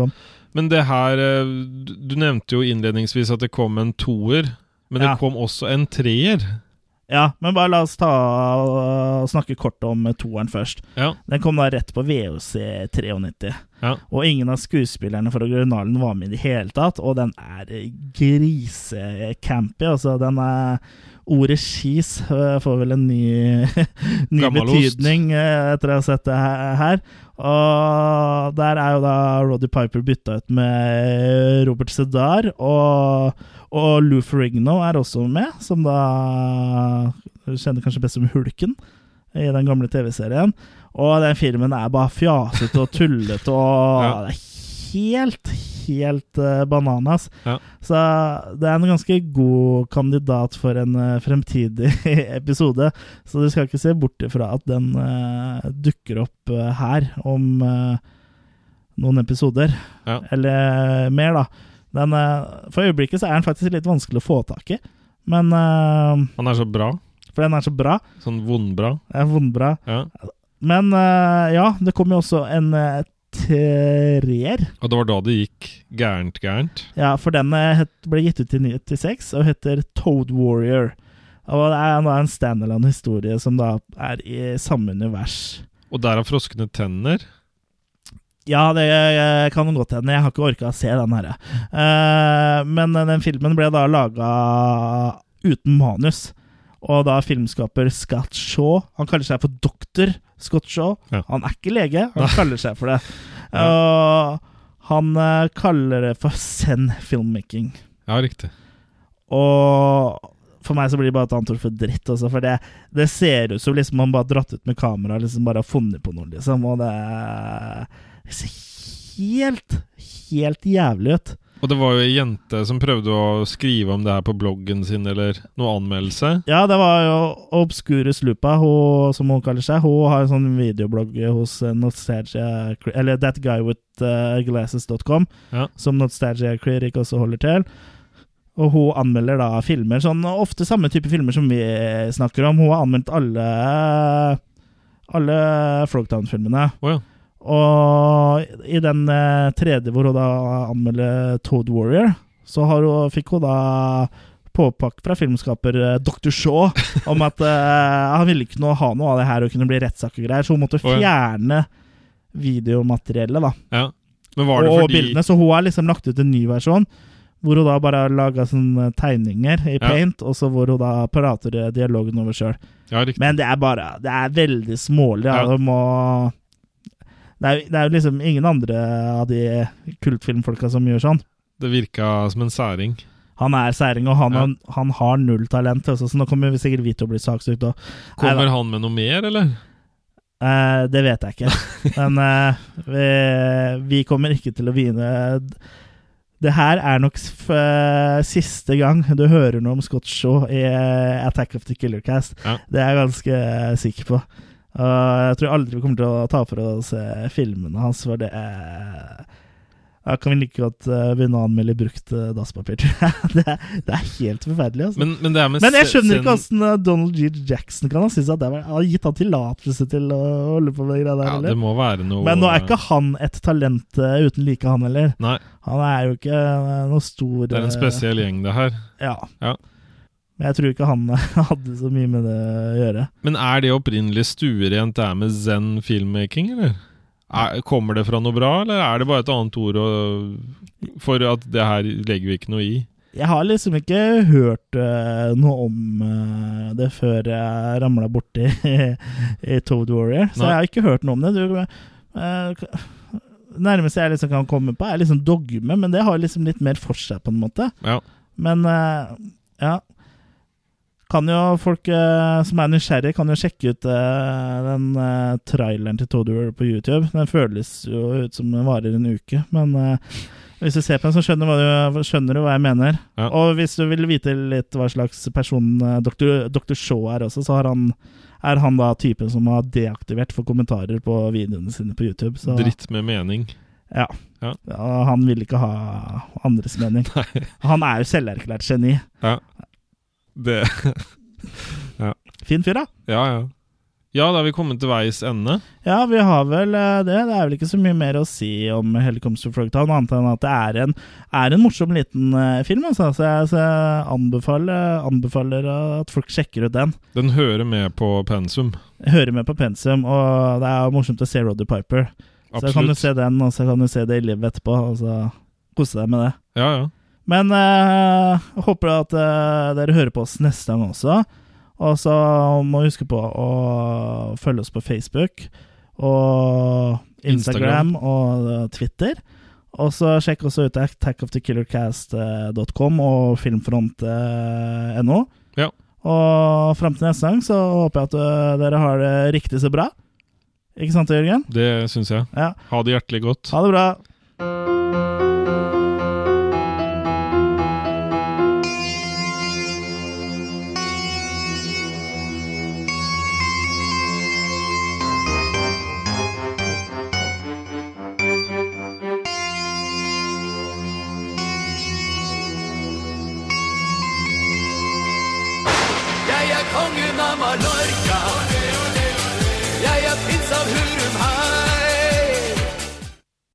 Men det her eh, Du du nevnte jo innledningsvis at det kom en toer, men det Ja. kom også en treer. ja, men bare la oss ta og snakke kort om eh, toeren først. Ja. Den kom da rett på VOC 93. Ja. Og ingen av skuespillerne for originalen var med i det hele tatt, og den er eh, grisecampy. Altså, den er Ordet skis øh, får vel en ny, ny Gammalost. betydning øh, etter å ha sett det he- her. Og der er jo da Roddy Piper bytta ut med Robert Sedar, og, og Lou Ferrigno er også med, som da du kjenner kanskje best som Hulken i den gamle TV-serien. Og den filmen er bare fjasete og tullete og Ja. Det er helt, helt eh, bananas. Ja. Så det er en ganske god kandidat for en eh, fremtidig episode. Så du skal ikke se bort ifra at den eh, dukker opp eh, her om eh, noen episoder. Ja. Eller eh, mer, da. Den, eh, for øyeblikket så er den faktisk litt vanskelig å få tak i. Men eh, Han er så bra. For den er så bra. Sånn vondbra. Den er vondbra. Ja. Men eh, ja, det kom jo også en eh, treer. Og det var da det gikk gærent, gærent. Ja, for den eh, het- ble gitt ut i 96 og heter Toad Warrior. Og det er da en standalone-historie som da er i samme univers. Og der har froskene tenner. Ja, det eh, kan godt hende. Jeg har ikke orka å se den her. Eh, men eh, den filmen ble da laga uten manus. Og da filmskaper Scott Shaw Han kaller seg for doktor Scott Shaw. Ja. Han er ikke lege, han kaller seg for det. Ja. Og han eh, kaller det for Zen filmmaking. Ja, riktig. Og for meg så blir det bare et annet ord for dritt, også, for det, det ser ut som liksom man bare har dratt ut med kamera liksom bare har funnet på noe, liksom. Og det, det ser helt, helt jævlig ut. Og det var jo ei jente som prøvde å skrive om det her på bloggen sin, eller noe anmeldelse. Ja, det var jo Obscurus Lupa, hun, som hun kaller seg. Hun har en sånn videoblogg hos eh, Nostalgia Cri- Eller eh, thatguywithglasses.com, Ja. som Nostalgia Critic også holder til. Og hun anmelder da filmer, sånn ofte samme type filmer som vi snakker om. Hun har anmeldt alle alle Frogtown-filmene. Å ja. Og i den eh, tredje hvor hun da anmelder Toad Warrior, så har hun, fikk hun da påpakk fra filmskaper eh, Dr. Shaw om at eh, han ville ikke noe, ha noe av det her og kunne bli rettssak og greier, så hun måtte Å, fjerne videomateriellet, da. Ja. Men var det og fordi bildene, så hun har liksom lagt ut en ny versjon. Hvor hun da bare har laga sånne tegninger i Ja. paint, og så hvor hun da prater eh, dialogen over sjøl. Ja, riktig. Men det er bare Det er veldig smålig. Ja. Ja. Det, må, det, er, det er jo liksom ingen andre av de kultfilmfolka som gjør sånn. Det virka som en særing. Han er særing, og han, Ja. han har null talent. Også, så nå kommer vi sikkert vi til å bli saksøkt òg. Kommer han med noe mer, eller? Eh, det vet jeg ikke. Men eh, vi, vi kommer ikke til å begynne Det her er nok s- f- eh, siste gang du hører noe om Scott Shaw i eh, Attack of the Killer Cast. Ja. Det er jeg ganske eh, sikker på. Og jeg tror aldri vi kommer til å ta for oss eh, filmene hans, for det er Da kan vi like godt eh, begynne å anmelde brukt eh, dasspapir. tror jeg. det, er- det er helt forferdelig, altså. Men, men det er med Men jeg skjønner scenen- ikke hvordan eh, Donald G. Jackson kan ha syntes at det var, har gitt han tillatelse til å holde på med det greia der. Ja, det eller? må være noe Men nå er ikke han et talent eh, uten like, han heller. Nei, Han er jo ikke eh, noe stor det er eh, en spesiell gjeng, det her. Ja. Ja. Men jeg tror ikke han hadde så mye med det å gjøre. Men er det opprinnelig stuerent det er med zen filmmaking, eller? Er, kommer det fra noe bra, eller er det bare et annet ord å, for at det her legger vi ikke noe i? Jeg har liksom ikke hørt eh, noe om eh, det før jeg ramla borti i Toad Warrior, så Nei. jeg har ikke hørt noe om det. Du, eh, k- nærmeste jeg liksom kan komme på, er liksom dogme, men det har liksom litt mer for seg, på en måte. Ja. Men eh, ja Kan jo folk eh, som er nysgjerrige, kan jo sjekke ut eh, den eh, traileren til Toad Warrior på YouTube. Den føles jo ut som den varer en uke, men eh, hvis du ser på den, så skjønner, hva du, skjønner du hva jeg mener. Ja. Og hvis du vil vite litt hva slags person eh, Dr. Dr. Shaw er også, så har han, er han da typen som har deaktivert for kommentarer på videoene sine på YouTube. Så Dritt med mening. Ja. Ja. Ja, han vil ikke ha andres mening. Han er jo selverklært geni. Ja. Det Fin fyr, da. Ja, ja. Ja, da er vi kommet til veis ende. Ja, vi har vel eh, det. Det er vel ikke så mye mer å si om Helicopter Frogtown, annet enn at det er en, er en morsom liten eh, film. Altså. Så jeg, så jeg anbefaler, anbefaler at folk sjekker ut den. Den hører med på pensum. hører med på pensum, og det er jo morsomt å se Roddy Piper. Så kan du Absolutt. se den, og så kan du se det i livet etterpå, og så kose deg med det. Ja, ja. Men eh, jeg håper at eh, dere hører på oss neste gang også. Og så må du huske på å følge oss på Facebook og Instagram, Instagram. og eh, Twitter. Og så sjekk også ut attackofthekillercast.com og filmfront.no. Ja. Og fram til neste gang så håper jeg at eh, dere har det riktig så bra. Ikke sant, Jørgen? Det syns jeg. Ja. Ha det hjertelig godt. Ha det bra.